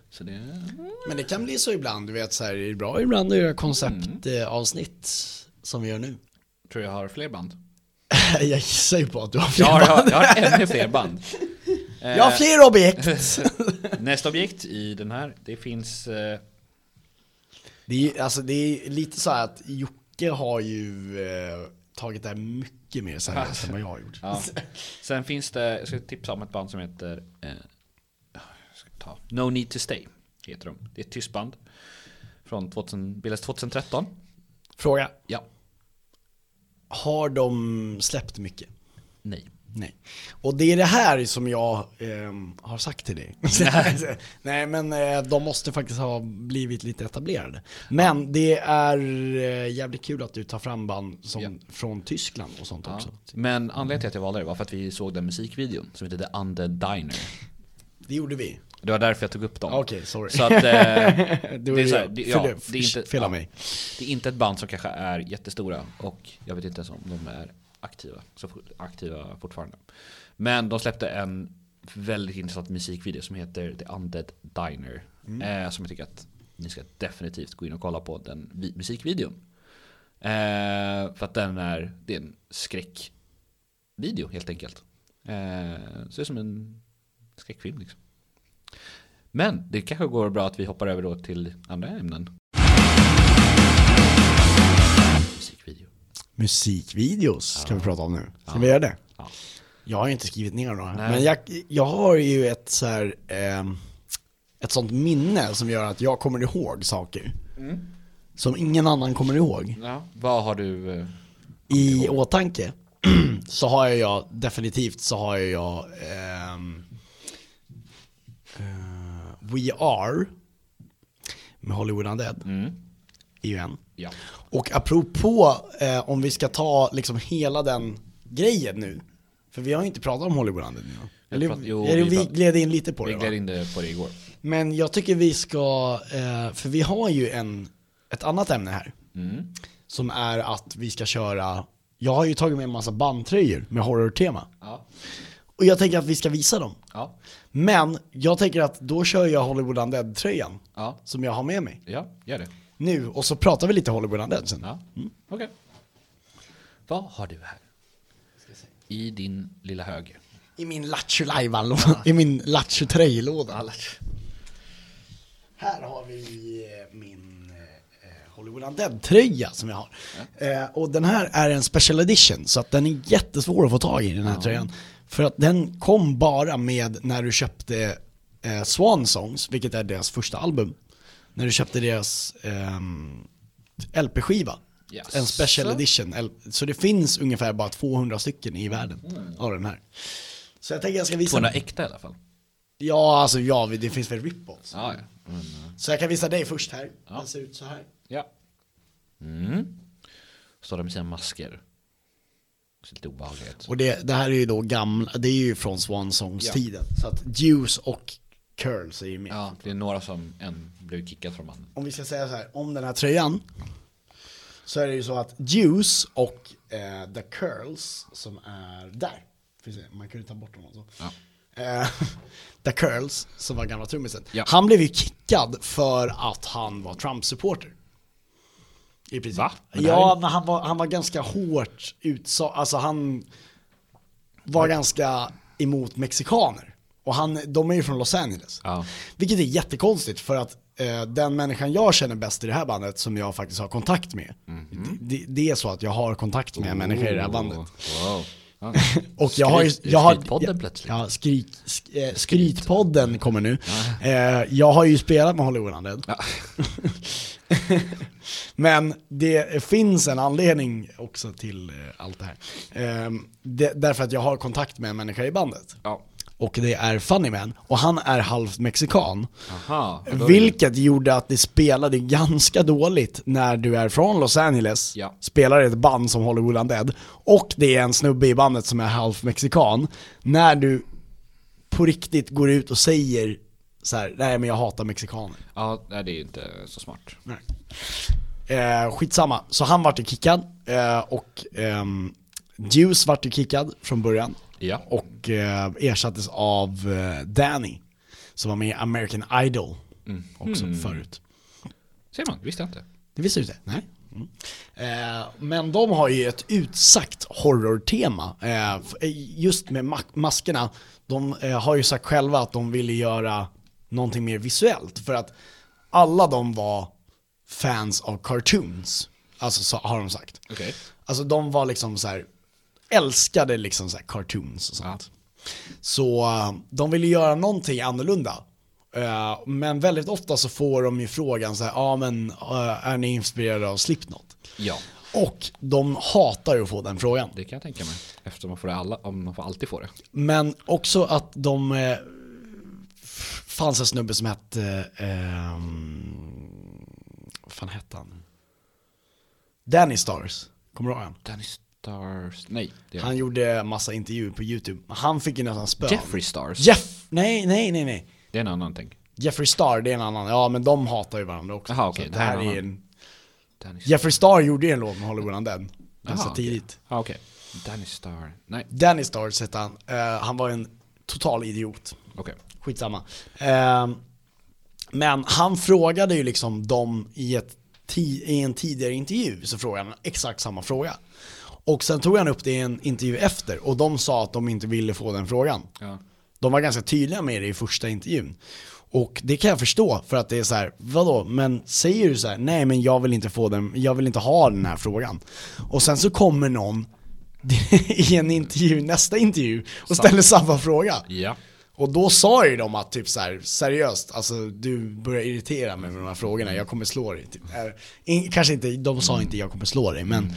Speaker 5: Så det...
Speaker 3: Men det kan bli så ibland, du vet så här, det är bra ibland att göra konceptavsnitt eh, som vi gör nu.
Speaker 5: Tror jag har fler band.
Speaker 3: jag gissar ju på att du har fler
Speaker 5: Jag har, jag,
Speaker 3: band.
Speaker 5: har- jag har ännu fler band.
Speaker 3: Jag har fler objekt!
Speaker 5: Nästa objekt i den här, det finns... Eh,
Speaker 3: Det är, ju- alltså, det är lite så här att Jocke har ju eh, tagit det här mycket mer seriöst än vad jag har gjort.
Speaker 5: ja. Sen finns det, jag ska tipsa om ett band som heter... Eh, jag ska ta. No Need To Stay heter de. Det är ett tyst band. Från 2000, bildades 2013.
Speaker 3: Fråga.
Speaker 5: Ja.
Speaker 3: Har de släppt mycket?
Speaker 5: Nej.
Speaker 3: Nej. Och det är det här som jag ehm, har sagt till dig. Nej men eh, de måste faktiskt ha blivit lite etablerade. Men det är eh, jävligt kul att du tar fram band som,
Speaker 5: Ja.
Speaker 3: från Tyskland och sånt
Speaker 5: Ja.
Speaker 3: också.
Speaker 5: Men anledningen till att jag valde det var för att vi såg den musikvideon som heter The Undead Diner.
Speaker 3: Det gjorde vi.
Speaker 5: Det var därför jag tog upp dem.
Speaker 3: Okej, sorry.
Speaker 5: Så att, eh, det
Speaker 3: var
Speaker 5: är så här,
Speaker 3: jag.
Speaker 5: det- ja,
Speaker 3: Förlåt,
Speaker 5: det är inte-
Speaker 3: fel av
Speaker 5: ja,
Speaker 3: mig.
Speaker 5: Det är inte ett band som kanske är jättestora och jag vet inte ens om de är aktiva, så fort- aktiva fortfarande. Men de släppte en väldigt intressant musikvideo som heter The Undead Diner. Eh, som jag tycker att ni ska definitivt gå in och kolla på den vi- musikvideon. Eh, för att den är, det är en skräckvideo helt enkelt. Eh, så det är som en skräckfilm liksom. Men det kanske går bra att vi hoppar över då till andra ämnen. Musikvideo.
Speaker 3: Musikvideos ska vi prata om nu. Ska vi göra det?
Speaker 5: Ja.
Speaker 3: Jag har ju inte skrivit ner några.
Speaker 5: Nej.
Speaker 3: Men jag, jag har ju ett så här, ehm, ett sånt minne som gör att jag kommer ihåg saker.
Speaker 5: Mm.
Speaker 3: Som ingen annan kommer ihåg.
Speaker 5: Vad har du? eh,
Speaker 3: I åtanke så har jag, jag definitivt så har jag ehm, eh, We Are med Hollywood Undead. Är ju en.
Speaker 5: Mm. Ja.
Speaker 3: Och apropå eh, om vi ska ta liksom hela den grejen nu. För vi har ju inte pratat om Hollywood Undead nu.
Speaker 5: Vi
Speaker 3: Eller,
Speaker 5: prat- jo,
Speaker 3: eller
Speaker 5: vi
Speaker 3: vi
Speaker 5: prat-
Speaker 3: gled in lite på
Speaker 5: Vi
Speaker 3: det va?
Speaker 5: gled in det på det igår.
Speaker 3: Men jag tycker vi ska, eh, för vi har ju en, ett annat ämne här.
Speaker 5: Mm.
Speaker 3: Som är att vi ska köra, jag har ju tagit med en massa bandtröjor med horrortema.
Speaker 5: Ja.
Speaker 3: Och jag tänker att vi ska visa dem.
Speaker 5: Ja.
Speaker 3: Men jag tänker att då kör jag Hollywood Undead-tröjan.
Speaker 5: Ja.
Speaker 3: Som jag har med mig
Speaker 5: Ja, gör det.
Speaker 3: nu. Och så pratar vi lite Hollywood Undead sen.
Speaker 5: Ja. Okej. Vad har du här? I din lilla hög.
Speaker 3: I min Lattjo Lajban-låda. I min Lattjo Trej-låda. Här har vi eh, min eh, eh, Hollywood Undead-tröja som jag har. Eh, och den här är en special edition, så att den är jättesvår att få tag i den här tröjan. För att den kom bara med när du köpte eh, Swan Songs, vilket är deras första album. När du köpte deras ehm, LP-skiva.
Speaker 5: Yes.
Speaker 3: En special edition. L- Så det finns ungefär bara 200 stycken i världen
Speaker 5: Mm.
Speaker 3: av den här. Så jag tänker jag ska visa.
Speaker 5: 200 äkta i alla fall.
Speaker 3: Ja, alltså ja, vi- det finns väl rip-offs.
Speaker 5: Ja, ja.
Speaker 3: Så jag kan visa dig först här. Den ser ut så här.
Speaker 5: ja. Mm. Står där med sina masker. Ser lite obehagligt ut.
Speaker 3: Och det, det här är ju då gamla, det är ju från Swansongs-tiden. Så att Juice och Curls är ju med.
Speaker 5: Ja, det är några som en blev kickad från mannen.
Speaker 3: Om vi ska säga så här, om den här tröjan. Så är det ju så att Juice och eh, The Curls som är där. Får vi se, Man kan ju ta bort dem också.
Speaker 5: Ja.
Speaker 3: Eh, The Curls, som var gamla trummisen.
Speaker 5: Ja.
Speaker 3: Han blev ju kickad för att han var Trump-supporter. I princip.
Speaker 5: Va? Men det här
Speaker 3: ja,
Speaker 5: är-
Speaker 3: men han var, han var ganska hårt utsa, alltså han var ganska emot mexikaner. Och han, de är ju från Los Angeles.
Speaker 5: Ja.
Speaker 3: Vilket är jättekonstigt för att eh, den människan jag känner bäst i det här bandet som jag faktiskt har kontakt med. det, det är så att jag har kontakt med människor i
Speaker 5: Oh.
Speaker 3: det här bandet.
Speaker 5: Wow. Ja.
Speaker 3: Och jag har ju...
Speaker 5: Skryt-
Speaker 3: Jag har,
Speaker 5: skrytpodden
Speaker 3: ja,
Speaker 5: plötsligt.
Speaker 3: Ja, skryt, sk, eh, skrytpodden kommer nu. Eh, jag har ju spelat med Hollywood Undead.
Speaker 5: Ja.
Speaker 3: Men det finns en anledning Ehm, också till eh, allt det här. Eh, det, därför att jag har kontakt med en människa i bandet.
Speaker 5: Ja.
Speaker 3: och det är Funny Man. Och han är halvt mexikan.
Speaker 5: Aha. då är det-
Speaker 3: Vilket gjorde att det spelade ganska dåligt när du är från Los Angeles,
Speaker 5: Ja.
Speaker 3: spelar i ett band som Hollywood Undead, och det är en snubbe i bandet som är halvmexikan. När du på riktigt går ut och säger så här, nej men jag hatar mexikaner.
Speaker 5: Ja, nej, det är ju inte så smart.
Speaker 3: Eh, skitsamma, så han vart ju kickad eh, och ehm, Juice vart ju kickad från början
Speaker 5: Ja.
Speaker 3: och eh, ersattes av eh, Danny som var med i American Idol också förut.
Speaker 5: Ser man, visste jag inte.
Speaker 3: Det visste du inte? Nej. Mm. Eh, men de har ju ett utsagt horrortema. Eh, f- eh, just med ma- maskerna, de eh, har ju sagt själva att de ville göra någonting mer visuellt. För att alla de var fans av cartoons. Alltså så har de sagt.
Speaker 5: Okej.
Speaker 3: Alltså de var liksom så här, älskade liksom så här cartoons och sånt. Så eh, de ville göra någonting annorlunda. Eh, Men väldigt ofta så får de ju frågan så här, ja ah, men eh, är ni inspirerade av Slipknot?
Speaker 5: Ja,
Speaker 3: Och de hatar ju att få den frågan.
Speaker 5: det kan jag tänka mig. Eftersom man får det alla, om man får alltid får det.
Speaker 3: Men också att de, eh, f- fanns en snubbe som hette, ehm, vad fan hette han? Danny Stars, kommer du ihåg han?
Speaker 5: Danny Stars, nej. Det är
Speaker 3: Han gjorde massa intervjuer på YouTube. Han fick ju nästan spön.
Speaker 5: Jeffrey Stars.
Speaker 3: Jeff! Nej, nej, nej, nej.
Speaker 5: Det är en annan ting.
Speaker 3: Jeffrey Star, det är en annan. Ja, men de hatar ju varandra också.
Speaker 5: Jaha, okej,
Speaker 3: Så
Speaker 5: det
Speaker 3: det
Speaker 5: här
Speaker 3: här
Speaker 5: är en
Speaker 3: är
Speaker 5: annan.
Speaker 3: en...
Speaker 5: Danny Star.
Speaker 3: Jeffrey Star gjorde ju en låt med Hollywood Undead. Ganska
Speaker 5: Jaha, okej.
Speaker 3: tidigt.
Speaker 5: Ja, Ah, okej. Danny Star, nej.
Speaker 3: Danny Stars hette han. Eh, han var en total idiot.
Speaker 5: Okej.
Speaker 3: Skitsamma. Ehm, men han frågade ju liksom dem i, ett, ti- i en tidigare intervju, så frågade han exakt samma fråga. Och sen tog han upp det i en intervju efter och de sa att de inte ville få den frågan.
Speaker 5: Ja.
Speaker 3: De var ganska tydliga med det i första intervjun. Och det kan jag förstå för att det är så här, vadå, men säger du så här, nej men jag vill inte få den, jag vill inte ha den här frågan. Och sen så kommer någon i en intervju, nästa intervju och ställer samma fråga.
Speaker 5: Ja.
Speaker 3: Och då sa ju de att typ så här, seriöst, alltså du börjar irritera mig med de här frågorna, jag kommer slå dig. Typ. Eh, in- Kanske inte, de sa inte jag kommer slå dig, men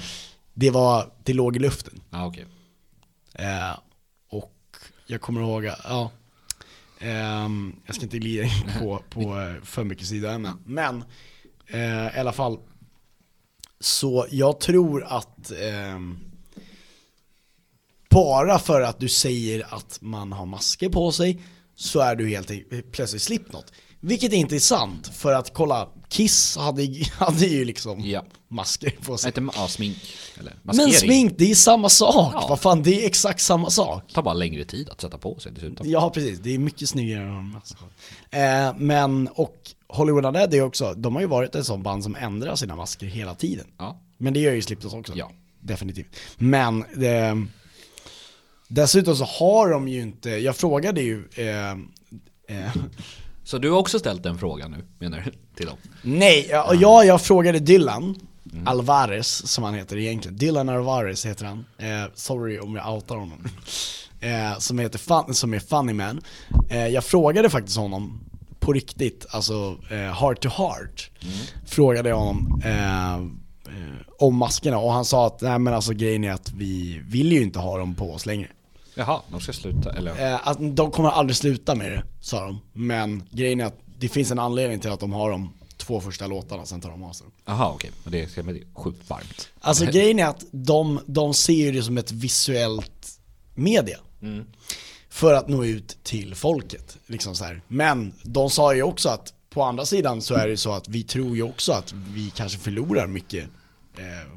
Speaker 3: det var, det låg i luften.
Speaker 5: Ja, Ah, okej.
Speaker 3: Eh, och jag kommer ihåg, att- ja. Ehm, jag ska inte glida in på, på eh, för mycket sidoämnen. Men eh, i alla fall. Så jag tror att ehm, bara för att du säger att man har masker på sig så är du helt en- plötsligt Slipknot. Vilket inte är sant, för att kolla, Kiss hade, hade ju liksom
Speaker 5: Ja.
Speaker 3: masker på sig.
Speaker 5: Nej, inte ma- ja, smink. Eller
Speaker 3: Men
Speaker 5: maskering.
Speaker 3: smink, det är samma sak!
Speaker 5: Ja.
Speaker 3: Vad fan, det är exakt samma sak.
Speaker 5: tar bara längre tid att sätta på sig dessutom.
Speaker 3: Ja, precis. Det är mycket snyggare än de masker. eh, Men, och Hollywood Undead är ju också, de har ju varit ett sånt band som ändrar sina masker hela tiden.
Speaker 5: Ja.
Speaker 3: Men det gör ju Slipknot också.
Speaker 5: Ja.
Speaker 3: Definitivt. Men, eh, dessutom så har de ju inte, jag frågade ju, eh, eh,
Speaker 5: Så du har också ställt den frågan nu, menar du? Till dem?
Speaker 3: nej, ja, ja, jag frågade Dylan. Alvarez, som han heter egentligen. Dylan Alvarez heter han. Eh, sorry om jag outar honom. Eh, som, heter fun, som är Funny Man. Eh, jag frågade faktiskt honom på riktigt, alltså eh, heart to heart. Frågade jag honom eh, eh, om maskerna och han sa att nej men alltså grejen är att vi vill ju inte ha dem på oss längre.
Speaker 5: Jaha, de ska sluta, eller?
Speaker 3: Eh, att de kommer aldrig sluta med det, sa de. Men grejen är att det finns en anledning till att de har de två första låtarna, sen tar de av sig dem.
Speaker 5: Jaha, okej. Men det ska bli sjukt varmt.
Speaker 3: Alltså grejen är att de, de ser ju det som ett visuellt media. För att nå ut till folket. Liksom så här. Men de sa ju också att på andra sidan så är det ju så att vi tror ju också att vi kanske förlorar mycket eh,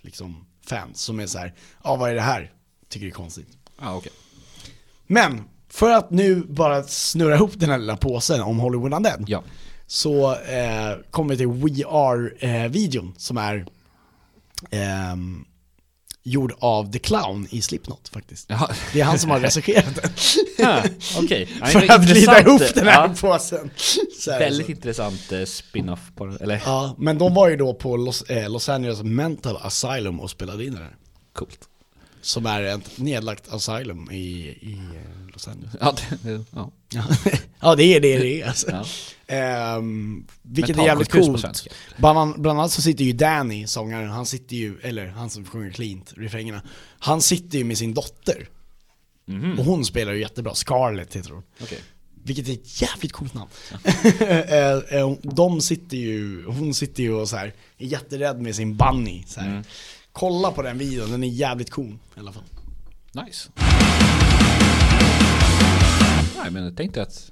Speaker 3: liksom fans som är så här, ja ah, vad är det här? Tycker det är konstigt.
Speaker 5: Ja, Ah, okej.
Speaker 3: Men för att nu bara snurra ihop den här lilla påsen om Hollywood Undead.
Speaker 5: Ja.
Speaker 3: Så eh, kommer vi till We Are-videon som är ehm, gjord av The Clown i Slipknot faktiskt.
Speaker 5: Jaha.
Speaker 3: Det är han som har regisserat den.
Speaker 5: Ah, Okej. Ja, det
Speaker 3: för
Speaker 5: var
Speaker 3: att glida
Speaker 5: intressant.
Speaker 3: ihop den här
Speaker 5: Ja,
Speaker 3: påsen. Så här,
Speaker 5: väldigt
Speaker 3: så.
Speaker 5: intressant eh, spin-off på den, eller?
Speaker 3: Ja, men de var ju då på Los, eh, Los Angeles Mental Asylum och spelade in det här.
Speaker 5: Coolt.
Speaker 3: Som är ett nedlagt asylum i, i eh, Los Angeles.
Speaker 5: Ja, det, ja.
Speaker 3: Ja. ja det är det det är alltså.
Speaker 5: Ja.
Speaker 3: Ehm, vilket är jävligt
Speaker 5: Mentalsjukhus på
Speaker 3: coolt.
Speaker 5: svenska.
Speaker 3: Bland, an- bland annat så sitter ju Danny, sångaren, han sitter ju, eller han som sjunger cleant, refrängerna, han sitter ju med sin dotter Och hon spelar ju jättebra, Scarlett heter hon.
Speaker 5: Mhm. Okej.
Speaker 3: Vilket är ett jävligt coolt namn. Eh, eh, De sitter ju, hon sitter ju och så här, är jätterädd med sin bunny. Så här.
Speaker 5: Mm.
Speaker 3: Kolla på den videon, den är jävligt cool i alla fall.
Speaker 5: Nice. Nej, men jag tänkte att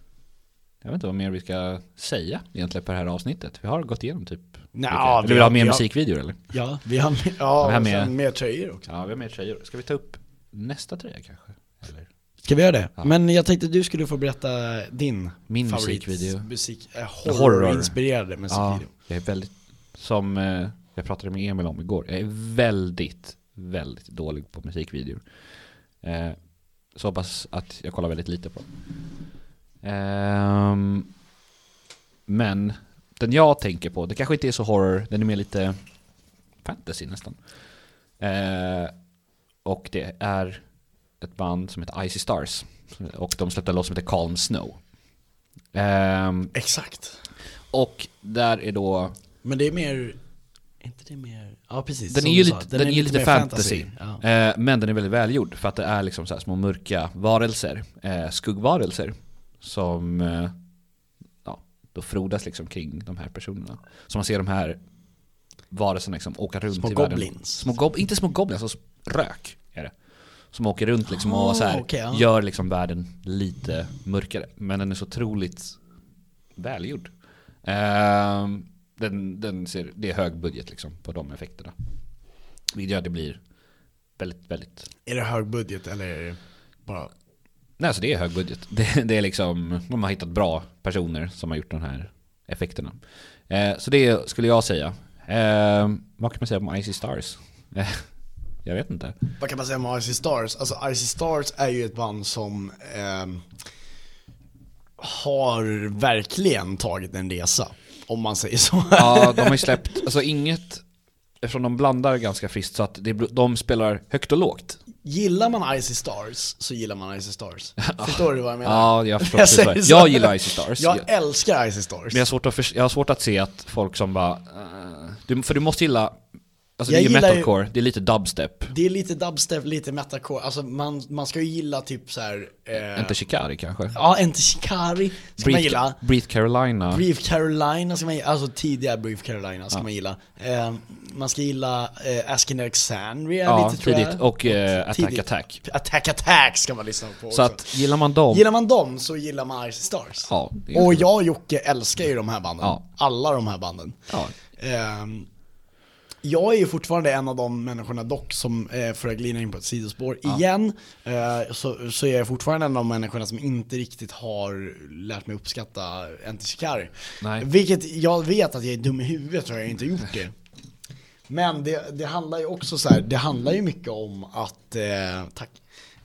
Speaker 5: jag vet inte vad mer vi ska säga egentligen på det här avsnittet. Vi har gått igenom typ.
Speaker 3: Nja,
Speaker 5: Vill du ha mer
Speaker 3: vi har-
Speaker 5: musikvideor eller?
Speaker 3: Ja, vi har med, ja,
Speaker 5: vi har
Speaker 3: och
Speaker 5: med-
Speaker 3: sen mer tröjor också.
Speaker 5: Ja, vi har mer tröjor. Ska vi ta upp nästa tröja kanske? Eller?
Speaker 3: Ska vi göra det? Men jag tänkte att du skulle få berätta din
Speaker 5: Min
Speaker 3: favorit
Speaker 5: musikvideo.
Speaker 3: musik, eh,
Speaker 5: Horror.
Speaker 3: horrorinspirerade musikvideo.
Speaker 5: jag är väldigt, som eh, jag pratade med Emil om igår, jag är väldigt, väldigt dålig på musikvideor. Eh, så pass att jag kollar väldigt lite på dem. Ehm, men den jag tänker på, det kanske inte är så horror, den är mer lite fantasy nästan. Eh, och det är ett band som heter Icy Stars. Och de släppte en låt som heter Calm Snow. Ehm,
Speaker 3: Exakt.
Speaker 5: och där är då
Speaker 3: Men det är mer, är inte det mer, ja precis.
Speaker 5: Den
Speaker 3: som
Speaker 5: är ju
Speaker 3: du sa,
Speaker 5: lite, den är ju lite
Speaker 3: mer
Speaker 5: fantasy,
Speaker 3: Ja.
Speaker 5: Eh, men den är väldigt välgjord för att det är liksom så här små mörka varelser, eh, skuggvarelser som eh, ja, då frodas liksom kring de här personerna. Så man ser de här varelserna liksom åka runt
Speaker 3: Små
Speaker 5: i världen.
Speaker 3: goblins.
Speaker 5: Små goblins. Inte små goblins, alltså rök är det. Som åker runt liksom och så här,
Speaker 3: Ah, okej, ja.
Speaker 5: gör liksom världen lite mörkare. Men den är så otroligt välgjord. Ehm, den, den ser, det är hög budget liksom på de effekterna. Vilket gör att det blir väldigt, väldigt...
Speaker 3: Är det hög budget eller är det bara
Speaker 5: Nej, alltså det är hög budget. Det, det är liksom, de har hittat bra personer som har gjort de här effekterna. Eh, så det skulle jag säga. Eh, vad kan man säga om Icy Stars? Eh, jag vet inte.
Speaker 3: vad kan man säga om RC Stars? Alltså RC Stars är ju ett band som ehm, har verkligen tagit en resa, om man säger så.
Speaker 5: Ja, de har ju släppt, alltså inget, eftersom de blandar ganska friskt så att det, bl- de spelar högt och lågt.
Speaker 3: Gillar man Icy Stars så gillar man Icy Stars. Förstår du vad jag menar?
Speaker 5: Ja, jag förstår
Speaker 3: Jag
Speaker 5: precis
Speaker 3: säger
Speaker 5: vad-
Speaker 3: så.
Speaker 5: jag gillar Icy Stars.
Speaker 3: Jag
Speaker 5: Ja.
Speaker 3: älskar Icy Stars.
Speaker 5: Men jag har svårt att, förs- jag har svårt att se att folk som bara, eh, du, för du måste gilla, alltså
Speaker 3: Jag
Speaker 5: det är ju
Speaker 3: gillar ju-
Speaker 5: metalcore, det är lite dubstep,
Speaker 3: Det är lite dubstep, lite metalcore, alltså man, man ska ju gilla typ så här. Eh,
Speaker 5: inte Shikari kanske?
Speaker 3: ja, Enter Shikari ska man gilla.
Speaker 5: Breathe Carolina.
Speaker 3: Brief Carolina ska man gilla, alltså tidiga Brief Carolina ska man gilla. Eh, man ska gilla eh, Asking Alexandria
Speaker 5: ja,
Speaker 3: lite tror
Speaker 5: tidigt.
Speaker 3: jag.
Speaker 5: Och eh, Attack
Speaker 3: Tidigt.
Speaker 5: Attack.
Speaker 3: Attack Attack ska man lyssna på
Speaker 5: Så
Speaker 3: också.
Speaker 5: att gillar man dem,
Speaker 3: Gillar man dem så gillar man Icy Stars.
Speaker 5: Ja, det är
Speaker 3: och
Speaker 5: så.
Speaker 3: jag och Jocke älskar ju de här banden.
Speaker 5: Ja.
Speaker 3: Alla de här banden.
Speaker 5: ja,
Speaker 3: Ehm, jag är ju fortfarande en av de människorna dock som, eh, för att glida in på ett sidospår igen, eh, så, så är jag fortfarande en av de människorna som inte riktigt har lärt mig uppskatta Antisikari.
Speaker 5: Nej.
Speaker 3: Vilket jag vet att jag är dum i huvudet och jag har inte gjort det. Men det, det handlar ju också så här, det handlar ju mycket om att, eh, tack,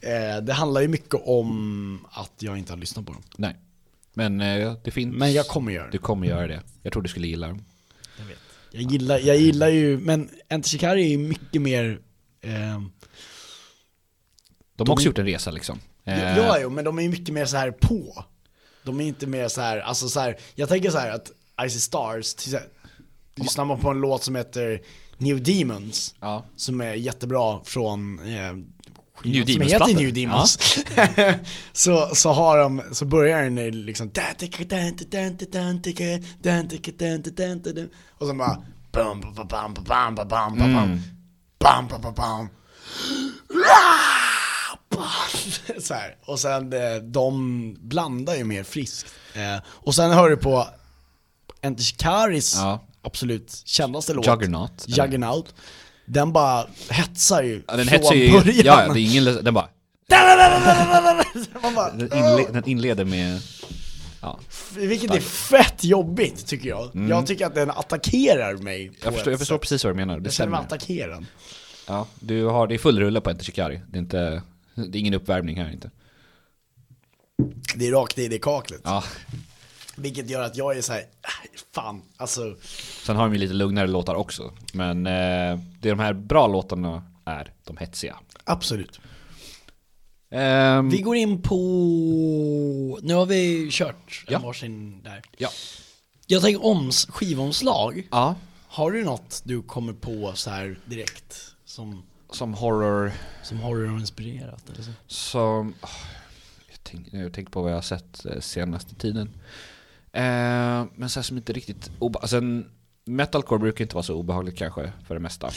Speaker 3: eh, det handlar ju mycket om att jag inte har lyssnat på dem.
Speaker 5: nej. Men eh, det finns...
Speaker 3: Men jag kommer göra det.
Speaker 5: Du kommer göra det. Jag tror du skulle gilla dem.
Speaker 3: Jag gillar, jag gillar ju, men Antisikari är ju mycket mer ehm,
Speaker 5: De har också gjort en resa liksom. Eh,
Speaker 3: Ja, jo, men de är ju mycket mer så här på. De är inte mer så här, alltså så här, jag tänker så här att Icy Stars, till exempel, lyssnar man på en låt som heter New Demons,
Speaker 5: Ja.
Speaker 3: som är jättebra från eh,
Speaker 5: New
Speaker 3: som
Speaker 5: Demons-plattor.
Speaker 3: heter New Demons. så, så har de, så börjar den i liksom och så bara bam, bam, bam, bam, bam, bam, bam,
Speaker 5: Mm.
Speaker 3: bam, bam, bam, bam, bam. så här. Och sen eh, de blandar ju mer friskt. Eh, och sen hör du på Entishikaris
Speaker 5: Ja.
Speaker 3: absolut kändaste låt.
Speaker 5: Juggernaut, eller?
Speaker 3: Juggernaut. Den bara hetsar ju
Speaker 5: Ja, den
Speaker 3: från
Speaker 5: hetsar ju...
Speaker 3: början.
Speaker 5: Ja, ja, det är ingen... le- Den bara...
Speaker 3: Man bara,
Speaker 5: Den, inle, den inleder med... Ja.
Speaker 3: vilket är fett jobbigt tycker jag. Jag tycker att den attackerar mig. på
Speaker 5: Mm. Jag förstår,
Speaker 3: ett
Speaker 5: jag förstår
Speaker 3: sätt.
Speaker 5: precis vad du menar. Det
Speaker 3: Jag känner mig
Speaker 5: stämmer.
Speaker 3: attackerad.
Speaker 5: Ja, du har, det är full rulle på Enter Shikari. Det är inte... Det är ingen uppvärmning här inte.
Speaker 3: Det är rakt i det kaklet.
Speaker 5: Ja.
Speaker 3: Vilket gör att jag är så här, "Äh, fan, alltså.
Speaker 5: Sen har de ju lite lugnare låtar också. Men eh, det de här bra låtarna är de hetsiga.
Speaker 3: Absolut.
Speaker 5: Ehm,
Speaker 3: Vi går in på, nu har vi kört
Speaker 5: Ja.
Speaker 3: en varsin där.
Speaker 5: ja.
Speaker 3: Jag tänker oms, skivomslag.
Speaker 5: ja.
Speaker 3: Har du något du kommer på så här direkt? Som
Speaker 5: som horror,
Speaker 8: Som horror har inspirerat eller så.
Speaker 5: som... åh, Jag tänker jag tänker på vad jag har sett eh, senaste tiden. Eh, men så här som inte riktigt... Obe- alltså, en- metalcore brukar inte vara så obehagligt kanske, för det mesta.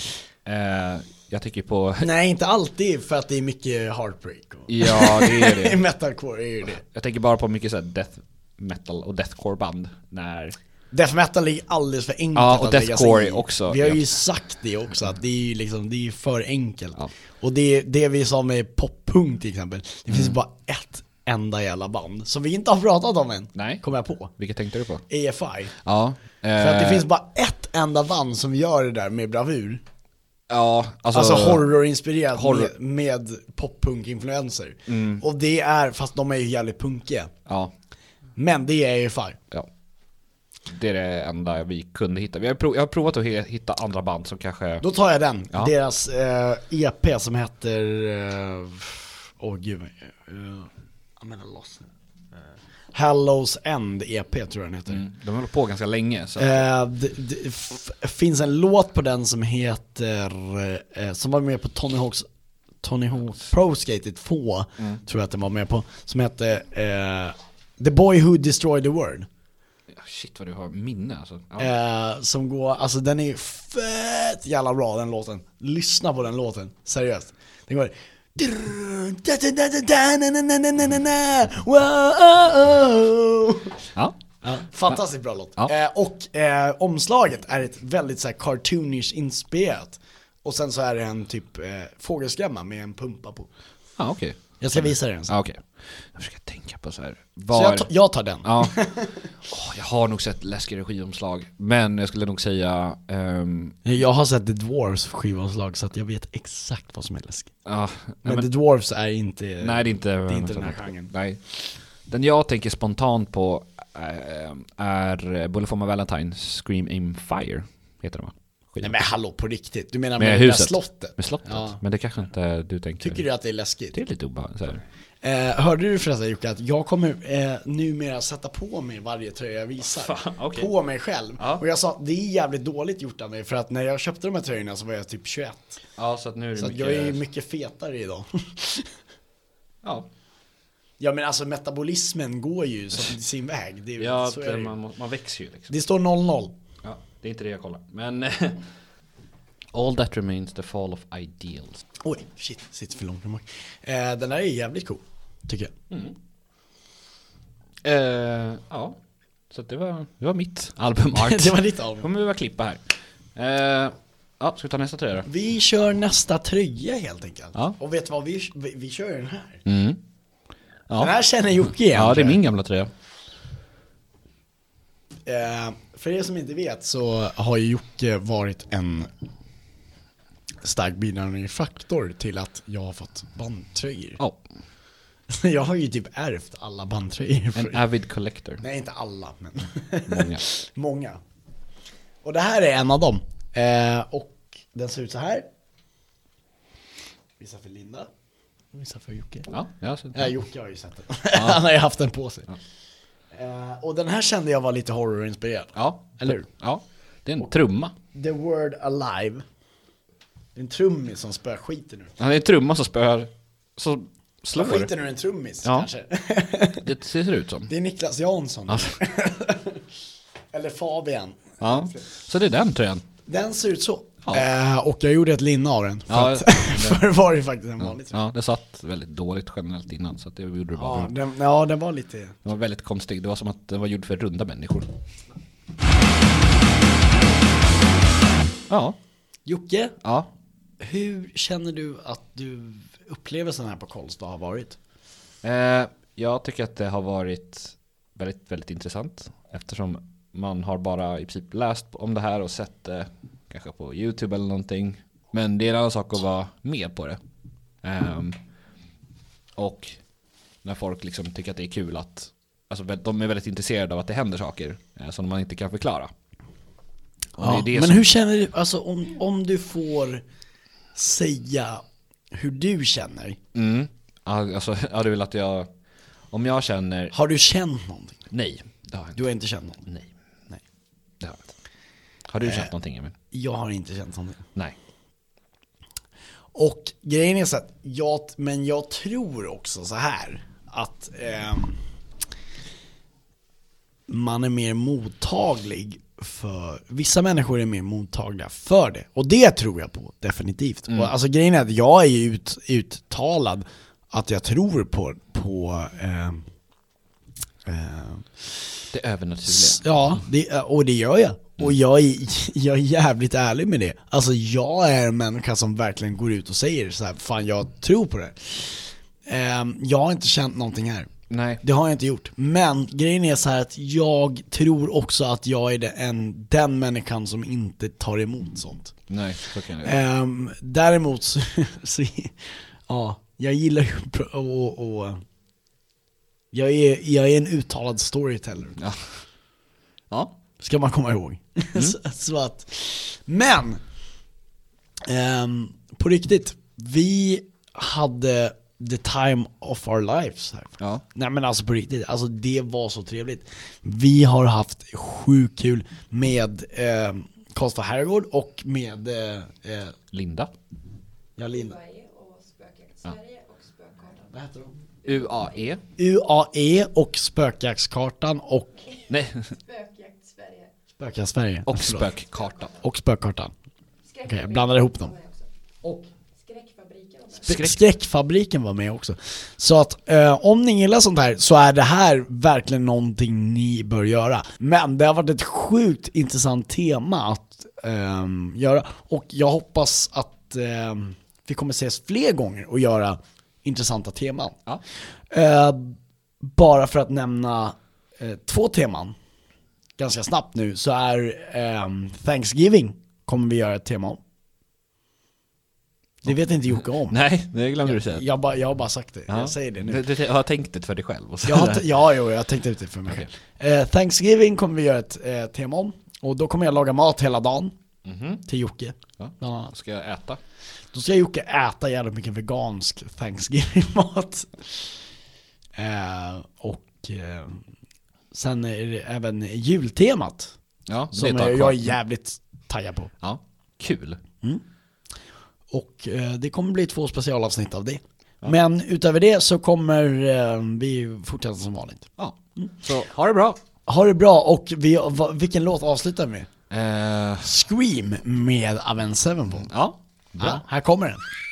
Speaker 5: Eh, jag tänker på...
Speaker 3: Nej, inte alltid för att det är mycket heartbreak. Och...
Speaker 5: Ja, det är det.
Speaker 3: Metalcore är ju det.
Speaker 5: Jag tänker bara på mycket så här death metal och deathcore band när...
Speaker 3: Death metal ligger alldeles för enkelt
Speaker 5: Ja, och
Speaker 3: att lägga sig
Speaker 5: deathcore
Speaker 3: i.
Speaker 5: också.
Speaker 3: Vi har ju
Speaker 5: Ja.
Speaker 3: sagt det också, att det är ju liksom, det är ju för enkelt.
Speaker 5: Ja.
Speaker 3: Och det, det vi sa med poppunk till exempel, det
Speaker 5: Mm.
Speaker 3: finns bara ett enda jävla band som vi inte har pratat om än,
Speaker 5: Nej.
Speaker 3: kom jag på.
Speaker 5: Vilket tänkte du på? Eh,
Speaker 3: EFI.
Speaker 5: Ja.
Speaker 3: För att det finns bara ett enda band som gör det där med bravur.
Speaker 5: Ja, alltså...
Speaker 3: Alltså horrorinspirerat
Speaker 5: Horror. Mm.
Speaker 3: med, med poppunk-influenser. Och det är, fast de är ju jävligt punkiga.
Speaker 5: Ja,
Speaker 3: Men det är EFI.
Speaker 5: ja. Det är det enda vi kunde hitta. Vi har prov, jag har provat att he- hitta andra band som kanske...
Speaker 3: Då tar jag den.
Speaker 5: Ja.
Speaker 3: Deras eh, EP som heter... eh, Åh gud. eh, jag menar loss nu. Eh, Hallows End EP tror jag den heter.
Speaker 5: De höll på ganska länge. Så.
Speaker 3: Eh, det, det f- finns en låt på den som heter, eh, som var med på Tony Hawks, Tony Hawks Pro Skate 2, tror jag att den var med på, som hette eh, The Boy Who Destroyed the World.
Speaker 5: Ah, Shit vad du har minne alltså. Ja.
Speaker 3: Eh, som går, alltså den är fett jävla bra den låten. Lyssna på den låten, seriöst. Den går...
Speaker 5: ja.
Speaker 3: Fantastiskt bra låt.
Speaker 5: Ja.
Speaker 3: Eh, och eh, omslaget är ett väldigt så här cartoonish inspirerat. Och sen så är det en typ eh, fågelskrämma med en pumpa på.
Speaker 5: Ja, Ah, okej.
Speaker 3: Jag ska visa dig den sen.
Speaker 5: Ja, okej. Jag försöker tänka på så här.
Speaker 3: Så
Speaker 5: Var...
Speaker 3: jag, ta- jag tar den.
Speaker 5: Ja. Åh, jag har nog sett läskiga skivomslag. Men jag skulle nog säga... ehm,
Speaker 3: Jag har sett The Dwarfs skivomslag så att jag vet exakt vad som är läskigt.
Speaker 5: ja,
Speaker 3: Men,
Speaker 5: ah, men-
Speaker 3: The Dwarfs är inte...
Speaker 5: Nej det är inte,
Speaker 3: är inte den här genren.
Speaker 5: Nej. Den jag tänker spontant på eh, är Bullet for my Valentine, Scream in Fire heter den va?
Speaker 3: Nej men hallå på riktigt, du menar
Speaker 5: Med
Speaker 3: med, det där
Speaker 5: huset.
Speaker 3: slottet?
Speaker 5: Med slottet,
Speaker 3: Ja.
Speaker 5: men det kanske inte du tänker?
Speaker 3: Tycker du att det är läskigt?
Speaker 5: Det är lite obehagligt. så här.
Speaker 3: Eh, hörde du förresten Jocke att jag kommer eh, numera sätta på mig varje tröja jag visar?
Speaker 5: okej.
Speaker 3: På mig själv.
Speaker 5: Ja.
Speaker 3: Och jag sa, det är jävligt dåligt gjort av mig för att när jag köpte de här tröjorna så var jag typ 21.
Speaker 5: Ja så att nu är det
Speaker 3: Så att jag är ju mycket fetare idag.
Speaker 5: Ja,
Speaker 3: ja men alltså metabolismen går ju som sin väg. Det, är- så är det. ju.
Speaker 5: man, växer ju liksom.
Speaker 3: det står 00.
Speaker 5: Ja, det är inte det jag kollar. Men eh, All that remains the fall of ideals.
Speaker 3: Oj, shit, sitter för långt bak. Eh, den här är jävligt cool, tycker jag.
Speaker 5: Eh, ja, så att det, var, det var mitt album art.
Speaker 3: det var ditt album.
Speaker 5: kommer vi behöva klippa här. Eh, ja, ska vi ta nästa tröja då?
Speaker 3: Vi kör nästa tröja helt enkelt.
Speaker 5: Ja. Mm.
Speaker 3: Och vet du vad, vi, vi, vi kör den här.
Speaker 5: Ja.
Speaker 3: Den här känner Jocke igen.
Speaker 5: Ja, det är
Speaker 3: tror jag.
Speaker 5: min gamla tröja.
Speaker 3: Eh, för er som inte vet så har ju Jocke varit en stark bidragande faktor till att jag har fått bandtröjor.
Speaker 5: Ja,
Speaker 3: Jag har ju typ ärvt alla bandtröjor.
Speaker 5: en
Speaker 3: För...
Speaker 5: avid collector.
Speaker 3: Nej, inte alla, men
Speaker 5: Många.
Speaker 3: många. Och det här är en av dem. Eh, och den ser ut så här. Vissa för Linda. Vissa för Jocke.
Speaker 5: Ja, ja, så,
Speaker 3: Ja, Jocke har ju sett den. Han har ju haft den på sig. Eh, och den här kände jag var lite horrorinspirerad.
Speaker 5: ja,
Speaker 3: Eller hur?
Speaker 5: ja. Det är en trumma.
Speaker 3: The Word Alive. Det är en trummis som spöar skiten nu.
Speaker 5: Han är en trumma som spöar, som slår.
Speaker 3: Skiten ur en trummis
Speaker 5: Ja.
Speaker 3: kanske.
Speaker 5: Det ser ut som.
Speaker 3: Det är Niklas Jansson.
Speaker 5: Ja.
Speaker 3: Eller Fabian.
Speaker 5: Ja, så det är den tröjan.
Speaker 3: Den ser ut så.
Speaker 5: Ja.
Speaker 3: Eh, och jag gjorde ett linne av den. För,
Speaker 5: Ja,
Speaker 3: att,
Speaker 5: det-
Speaker 3: för var det faktiskt en vanlig trummis.
Speaker 5: Ja, det satt väldigt dåligt generellt innan, så att det gjorde det bara
Speaker 3: Ja,
Speaker 5: bra.
Speaker 3: den, ja, den var lite...
Speaker 5: Den var väldigt konstig, det var som att den var gjord för runda människor. Ja,
Speaker 3: Jocke,
Speaker 5: ja.
Speaker 3: hur känner du att du upplevelsen här på Karlstad har varit?
Speaker 5: Eh, jag tycker att det har varit väldigt, väldigt intressant eftersom man har bara i princip läst om det här och sett det kanske på YouTube eller någonting. Men det är en annan sak att vara med på det. Ehm, och när folk liksom tycker att det är kul att alltså, vä- de är väldigt intresserade av att det händer saker eh, som man inte kan förklara. Och det är
Speaker 3: Ja,
Speaker 5: det
Speaker 3: men
Speaker 5: som-
Speaker 3: hur känner du, alltså om, om du får säga hur du känner,
Speaker 5: Mm. Ja, Alltså, ja, du vill att jag... Om jag känner...
Speaker 3: har du känt någonting?
Speaker 5: Nej, det har jag inte.
Speaker 3: Du har inte känt någonting?
Speaker 5: Nej.
Speaker 3: Nej. Eh.
Speaker 5: Det har jag inte. Har du känt någonting Emil?
Speaker 3: Jag har inte känt någonting.
Speaker 5: Nej.
Speaker 3: Och grejen är så att jag, men jag tror också så här att eh, man är mer mottaglig för, vissa människor är mer mottagliga för det. Och det tror jag på, definitivt. Och alltså grejen är att jag är ju ut, uttalad att jag tror på, på eh, eh,
Speaker 4: Det övernaturliga.
Speaker 3: Ja, det, och det gör jag. Och jag är, jag är jävligt ärlig med det. Alltså jag är en människa som verkligen går ut och säger så här, fan jag tror på det. Ehm, jag har inte känt någonting här.
Speaker 4: Nej.
Speaker 3: Det har jag inte gjort. Men grejen är så här att jag tror också att jag är det, en, den människan som inte tar emot sånt.
Speaker 4: Nej, så kan jag
Speaker 3: Ehm, däremot så, så ja, jag gillar ju pr- och, och jag, är, jag är en uttalad storyteller.
Speaker 4: Ja. Ja.
Speaker 3: Ska man komma ihåg. Mm. så, så att, men! ehm, på riktigt, vi hade the time of our lives här.
Speaker 4: Ja.
Speaker 3: Nej men alltså på riktigt, alltså det var så trevligt. Vi har haft sjukt kul med eh, Karlstad herrgård och med eh, eh,
Speaker 5: Linda.
Speaker 3: ja, Linda.
Speaker 6: Sverige och spökjakt Sverige och spökkartan.
Speaker 3: Vad heter de?
Speaker 4: UAE.
Speaker 3: UAE E och Spökjaktskartan och
Speaker 4: Nej.
Speaker 6: Spökjakt Sverige.
Speaker 3: Spöka Sverige.
Speaker 4: Och
Speaker 3: Förlåt.
Speaker 4: spökkartan.
Speaker 3: Och Spökkartan.
Speaker 6: Skräckfabriken
Speaker 3: Okej, jag blandar ihop dem.
Speaker 6: var med också.
Speaker 3: Och
Speaker 6: Skräckfabriken var med.
Speaker 4: Skräck.
Speaker 3: Skräckfabriken var med också. Så att eh, om ni gillar sånt här så är det här verkligen någonting ni bör göra. Men det har varit ett sjukt intressant tema att ehm, göra och jag hoppas att ehm, vi kommer ses fler gånger och göra intressanta teman.
Speaker 4: Ja.
Speaker 3: Eh, bara för att nämna eh, två teman ganska snabbt nu så är ehm, Thanksgiving kommer vi göra ett tema om. Det vet inte Jocke om.
Speaker 4: Nej, det glömde du
Speaker 5: typ.
Speaker 4: säga.
Speaker 3: Jag, bara- jag har bara sagt det,
Speaker 4: Ja.
Speaker 3: jag säger det
Speaker 4: Du,
Speaker 3: nu.
Speaker 4: du, jag har tänkt det för dig själv. Och så
Speaker 3: Jag har, t- ja, jo, jag tänkte ut det för mig själv. Eh, Thanksgiving kommer vi göra ett eh, tema om. Och då kommer jag laga mat hela dagen. Till Jocke.
Speaker 4: Ja.
Speaker 3: Bland annat.
Speaker 4: Ska jag äta?
Speaker 3: Då ska Jocke äta jävligt mycket vegansk Thanksgiving-mat. Eh, och eh, sen är det även jultemat.
Speaker 4: Ja, det
Speaker 3: Som
Speaker 4: tar kvar.
Speaker 3: eh, jag är jävligt taggad på.
Speaker 4: Ja, kul.
Speaker 3: Och eh, det kommer bli två specialavsnitt av det. Men utöver det så kommer eh, vi fortsätta som vanligt.
Speaker 4: Ja. Så ha det bra.
Speaker 3: Ha det bra och vi, va, vilken låt avslutar vi med?
Speaker 4: Eh,
Speaker 3: Scream med Avenged Sevenfold.
Speaker 4: ja,
Speaker 3: Ja, här kommer den.